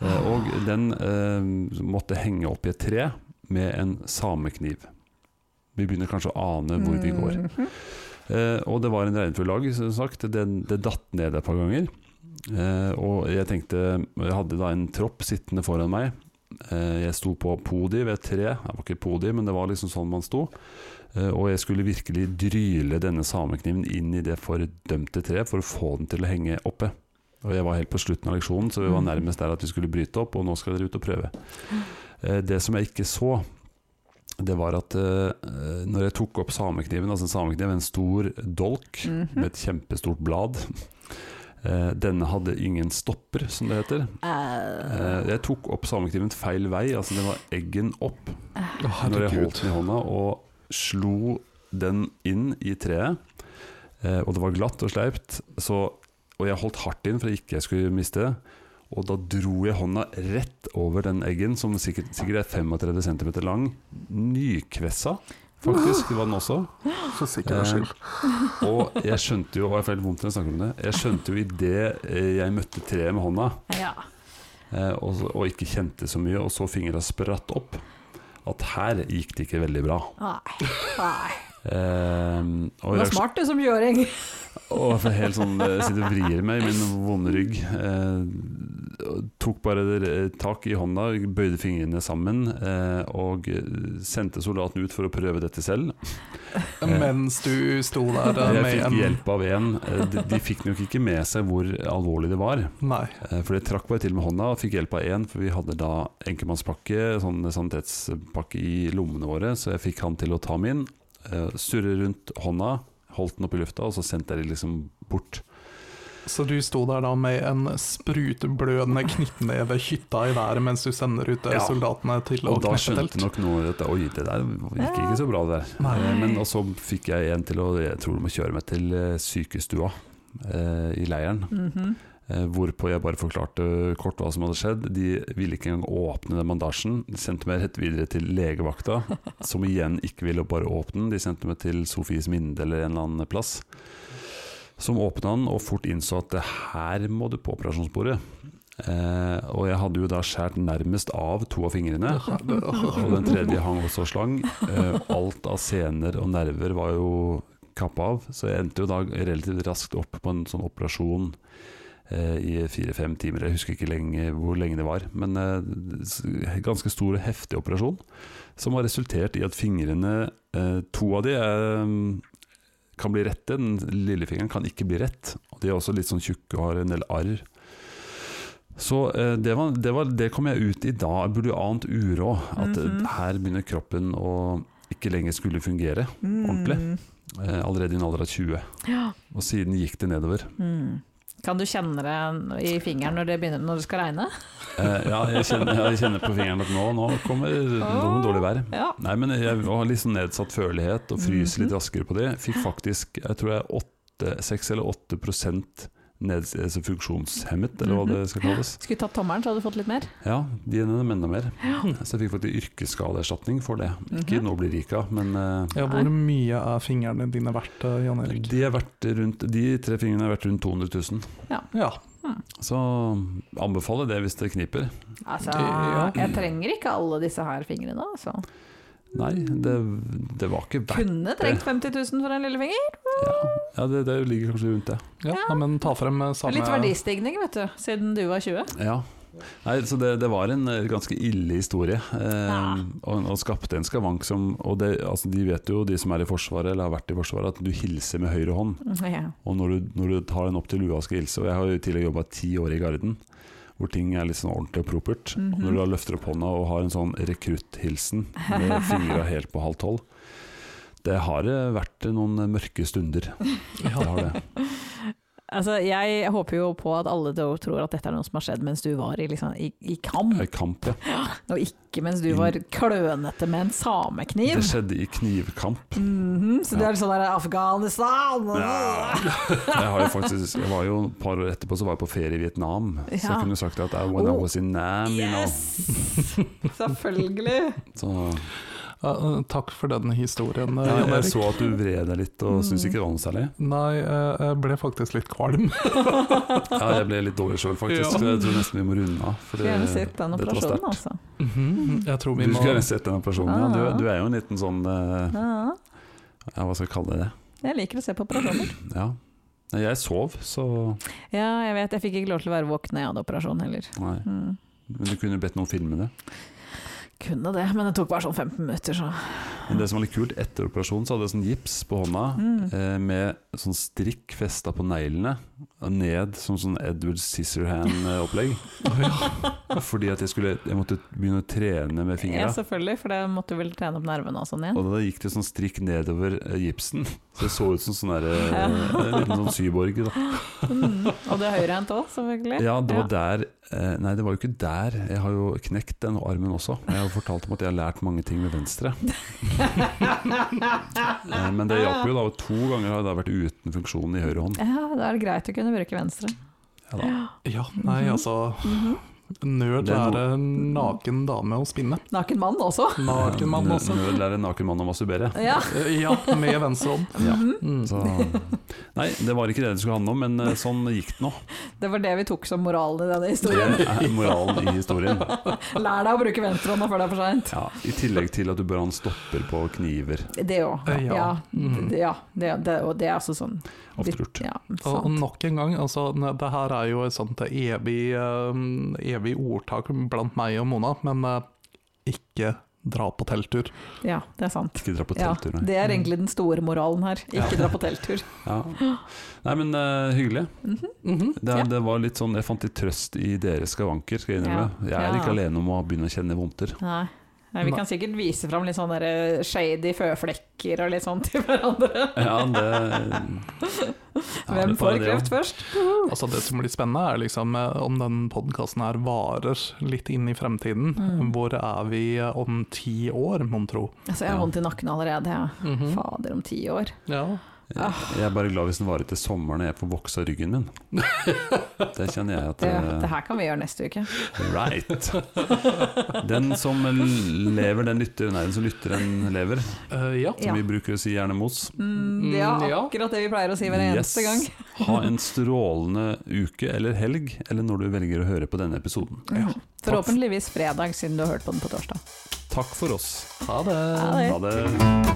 Eh, og den eh, måtte henge opp i et tre med en samekniv. Vi begynner kanskje å ane hvor vi går.
Mhm.
Eh, og det var en regnfull dag, som sagt. Det, det datt ned et par ganger. Eh, og jeg tenkte Jeg hadde da en tropp sittende foran meg. Eh, jeg sto på podi ved et tre. Det var ikke podi, men det var liksom sånn man sto. Eh, og jeg skulle virkelig dryle denne samekniven inn i det fordømte treet for å få den til å henge oppe. Og jeg var helt på slutten av leksjonen, så vi var nærmest der at vi skulle bryte opp, og nå skal dere ut og prøve. Eh, det som jeg ikke så, det var at eh, når jeg tok opp samekniven, altså en samekniv, en stor dolk
Mm. Mhm.
med et kjempestort blad eh, Denne hadde ingen stopper, som det heter.
Eh,
Eh, jeg tok opp samekniven feil vei, altså den var eggen opp
Å,
når jeg holdt
herregud.
den i hånda og slo den inn i treet. Eh, og det var glatt og sleipt, så, og jeg holdt hardt inn for at jeg ikke skulle miste det. Og da dro jeg hånda rett over den eggen, som sikkert, sikkert er 35 cm lang. Nykvessa, faktisk, var den også.
For sikkerhets
Eh,
skyld.
Og jeg skjønte jo, og jeg får helt vondt når jeg snakker om det, jeg skjønte jo idet jeg møtte treet med hånda,
ja.
eh, og, så- og ikke kjente så mye, og så fingra spratt opp, at her gikk det ikke veldig bra.
Nei. Nei.
Ehm, og
Du er
reaksjon-
smart du som 20-åring.
Og for helt sånn eh, sitter og vrir meg i min vonde rygg. Eh, og tok bare der- eh, tak i hånda, bøyde fingrene sammen eh, og eh, sendte soldaten ut for å prøve dette selv.
Mens du sto der eh,
Jeg
med
fikk
en
hjelp av en. Eh, de, de fikk nok ikke med seg hvor alvorlig det var.
Nei.
Eh, For det trakk bare til med hånda og fikk hjelp av én, for vi hadde da enkeltmannspakke, sånn sanitetspakke i lommene våre, så jeg fikk han til å ta min. eh, Surre rundt hånda, holdt den opp i lufta, og så sendte jeg de liksom bort.
Så du sto der da med en sprutblødende knyttneve hytta i været mens du sender ut eh,
Ja.
soldatene til å
Og da
knekke
skjønte
telt?
nok noen at oi, det der gikk ikke så bra, det der.
Nei.
Eh, Men og så fikk jeg en til å jeg tror de må kjøre meg til eh, sykestua eh, i leiren.
Mhm.
Eh, hvorpå jeg bare forklarte kort hva som hadde skjedd. De ville ikke engang åpne den bandasjen. De sendte meg rett videre til legevakta, som igjen ikke ville bare åpne den. De sendte meg til Sofies Minde eller en eller annen plass. Som åpna den og fort innså at det her må du på operasjonsbordet. Eh, og jeg hadde jo da skåret nærmest av to av fingrene. Og den tredje hang også slang. Eh, Alt av sener og nerver var jo kappa av, så jeg endte jo da relativt raskt opp på en sånn operasjon eh, i fire-fem timer. Jeg husker ikke lenge, hvor lenge det var, men eh, s- ganske stor og heftig operasjon. Som har resultert i at fingrene, eh, to av de er, mm, kan bli rette, den lillefingeren kan ikke bli rett. Og de er også litt sånn tjukke og har en del arr. Så eh, det, var, det, var, det kom jeg ut i da, jeg burde jo ant uråd, at eh,
Mhm.
her begynner kroppen å ikke lenger skulle fungere,
Mm.
Ordentlig. eh, allerede i en alder av 20.
Ja.
Og siden gikk det nedover.
Mm. Kan du kjenne det i fingeren når det, begynner, når det skal regne?
Eh, ja, jeg kjenner, jeg kjenner på fingeren at nå, nå kommer noe dårlig vær.
Ja.
Nei, men jeg har litt sånn nedsatt førlighet og fryser litt raskere på det. Fikk faktisk, jeg tror jeg er åtte- seks eller 8 prosent neds, altså funksjonshemmet, eller hva det skal kalles.
Skulle tatt tommelen, så hadde du fått litt mer.
Ja, de er enda mer. Så jeg fikk faktisk yrkesskadeerstatning for det. Ikke
Mhm.
nå blir rik av, men eh,
Ja, hvor mye er fingrene dine verdt, eh, Jan Erik?
de, er verdt rundt, de tre fingrene er verdt rundt 200 000.
Ja.
Så anbefaler det hvis det kniper.
Altså,
Ja.
jeg trenger ikke alle disse her fingrene, altså.
Nei, det, det var ikke verdt
Kunne trengt 50 000 for en lillefinger.
Ja, ja det, det ligger kanskje rundt det.
ja. Nei, men ta frem eh, samme
Litt verdistigning, vet du, siden du var 20.
Ja. Nei, så det, det var en eh, ganske ille historie, eh,
Ja.
og, og skapte en skavank som Og det, altså, de vet jo, de som er i Forsvaret eller har vært i Forsvaret, at du hilser med høyre hånd.
Ja.
Og når du, når du tar den opp til lua og skal hilse Og jeg har jo tidligere jobba ti år i Garden, hvor ting er litt sånn ordentlig og propert. Og Når du da løfter opp hånda og har en sånn rekrutthilsen med fingra helt på halv tolv Det har eh, vært noen mørke stunder. Det har det.
Altså, jeg håper jo på at alle da tror at dette er noe som har skjedd mens du var i, liksom, i, i kamp,
Det er kamp, ja.
og ikke mens du var klønete med en samekniv.
Mm. Det skjedde i knivkamp.
Mhm, så du
Ja.
er litt sånn der Afghanistan!
Ja. Jeg, har jo faktisk, jeg var jo et par år etterpå så var jeg på ferie i Vietnam. Så
Ja.
jeg kunne sagt at I, when I
Oh.
was in Nam, you know.
Yes! Selvfølgelig.
Så,
Eh, eh, Takk for den historien, eh,
ja,
Jan
jeg
Erik.
så at du vred deg litt og
Mm.
syntes ikke det var noe særlig.
Nei, eh, jeg ble faktisk litt kvalm.
Ja, jeg ble litt dårlig sjøl, faktisk.
Ja.
Så jeg tror nesten vi må runde av. For
Skulle gjerne sett den
dette var
operasjonen,
sterkt.
altså.
Mhm, Jeg tror
Du
vi må
skulle gjerne sett den operasjonen, ja.
Ah.
Du, du er jo en liten sånn eh,
Ja,
Ja, hva skal jeg kalle det?
jeg liker å se på operasjoner.
Ja. Nei, jeg sov, så
Ja, jeg vet, jeg fikk ikke lov til å være våken da jeg hadde operasjon heller.
Nei.
Mm.
Men du kunne bedt noen filme det.
Kunne det, men det tok bare sånn 15 minutter, så
Men det som var litt kult, etter operasjonen så hadde jeg sånn gips på hånda
Mm.
eh, med sånn strikk festa på neglene og ned som sånn Edward Scissorhand-opplegg. Fordi at jeg skulle Jeg måtte begynne å trene med
Ja,
fingra.
selvfølgelig, for det måtte du vel trene opp nervene og sånn igjen.
Og da gikk det sånn strikk nedover eh, gipsen. Så jeg så ut som sånn der, eh, en liten sånn syborg. Da.
Mm. Og det er høyrehendt òg, selvfølgelig.
Ja, det var der eh, Nei, det var jo ikke der. Jeg har jo knekt den armen også. Jeg har jo fortalt om at jeg har lært mange ting med venstre. Eh, Men det hjalp jo da. og To ganger har jeg da vært uten funksjon i høyre hånd.
Ja, Mhm. da er det greit å kunne bruke venstre.
Mhm.
Ja da.
Ja, nei, altså Nerd
Det er noe-
være naken dame å spinne.
Naken mann også.
Naken mann
Eh, Nø-
også.
Nøl er en naken mann å masturbere.
Ja.
Eh, Ja, med venstre hånd.
Ja.
Mm.
Så, nei, det var ikke det det skulle handle om, men eh, sånn gikk det nå.
Det var det vi tok som moralen i denne
Det
historien.
er moralen i historien.
Lær deg å bruke venstrehånda før det er for seint.
Ja, I tillegg til at du bør ha en stopper på kniver.
Det òg.
Eh, ja.
Ja.
Mm.
Det- ja. Det, det, og det er altså sånn
Ofte lurt.
Ja,
Og
sant.
nok en gang, altså, ne- det her er jo et sånt evig, eh, evig ordtak blant meg og Mona, men eh, ikke dra på telttur.
ja, det er sant.
Ikke dra på
Ja,
telttur, nei.
det er egentlig den store moralen her. Ikke dra på telttur.
Ja. Nei, men eh, hyggelig.
Mhm.
Mhm.
Det, er-
Ja.
det var litt sånn Jeg fant litt trøst i deres skavanker, skal jeg innrømme. Jeg er
Ja.
ikke alene om å begynne å kjenne vondter.
Nei. Nei, vi kan sikkert vise fram litt sånne der shady føflekker og litt sånn til hverandre.
Ja, det Ja,
Hvem
det er bare
får
det, ja.
kreft først?
Altså, det som blir spennende, er liksom eh, om den podkasten her varer litt inn i fremtiden.
Mm.
Hvor er vi eh, om ti år, mon tro?
Altså, jeg har
Ja.
vondt i nakken allerede. Ja.
Mhm.
Fader, om ti år.
Ja.
Jeg, jeg er bare glad hvis den varer til sommeren og jeg får voksa ryggen min. Det kjenner jeg at
Det,
eh,
det her kan vi gjøre neste uke.
Right. Den som lever, den lytter. Nei, den som lytter, den lever.
Eh, ja.
Som
Ja.
vi bruker å si gjerne mos.
Mm, ja,
Mm, ja.
akkurat det vi pleier å si hver eneste gang.
Yes. Ha en strålende uke eller helg, eller når du velger å høre på denne episoden.
Mhm.
for-
Forhåpentligvis fredag, siden du har hørt på den på torsdag.
Takk for oss.
Ha det.
Ha det.
Ha det.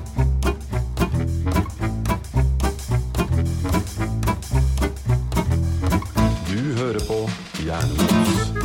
Du hører på Hjernemos.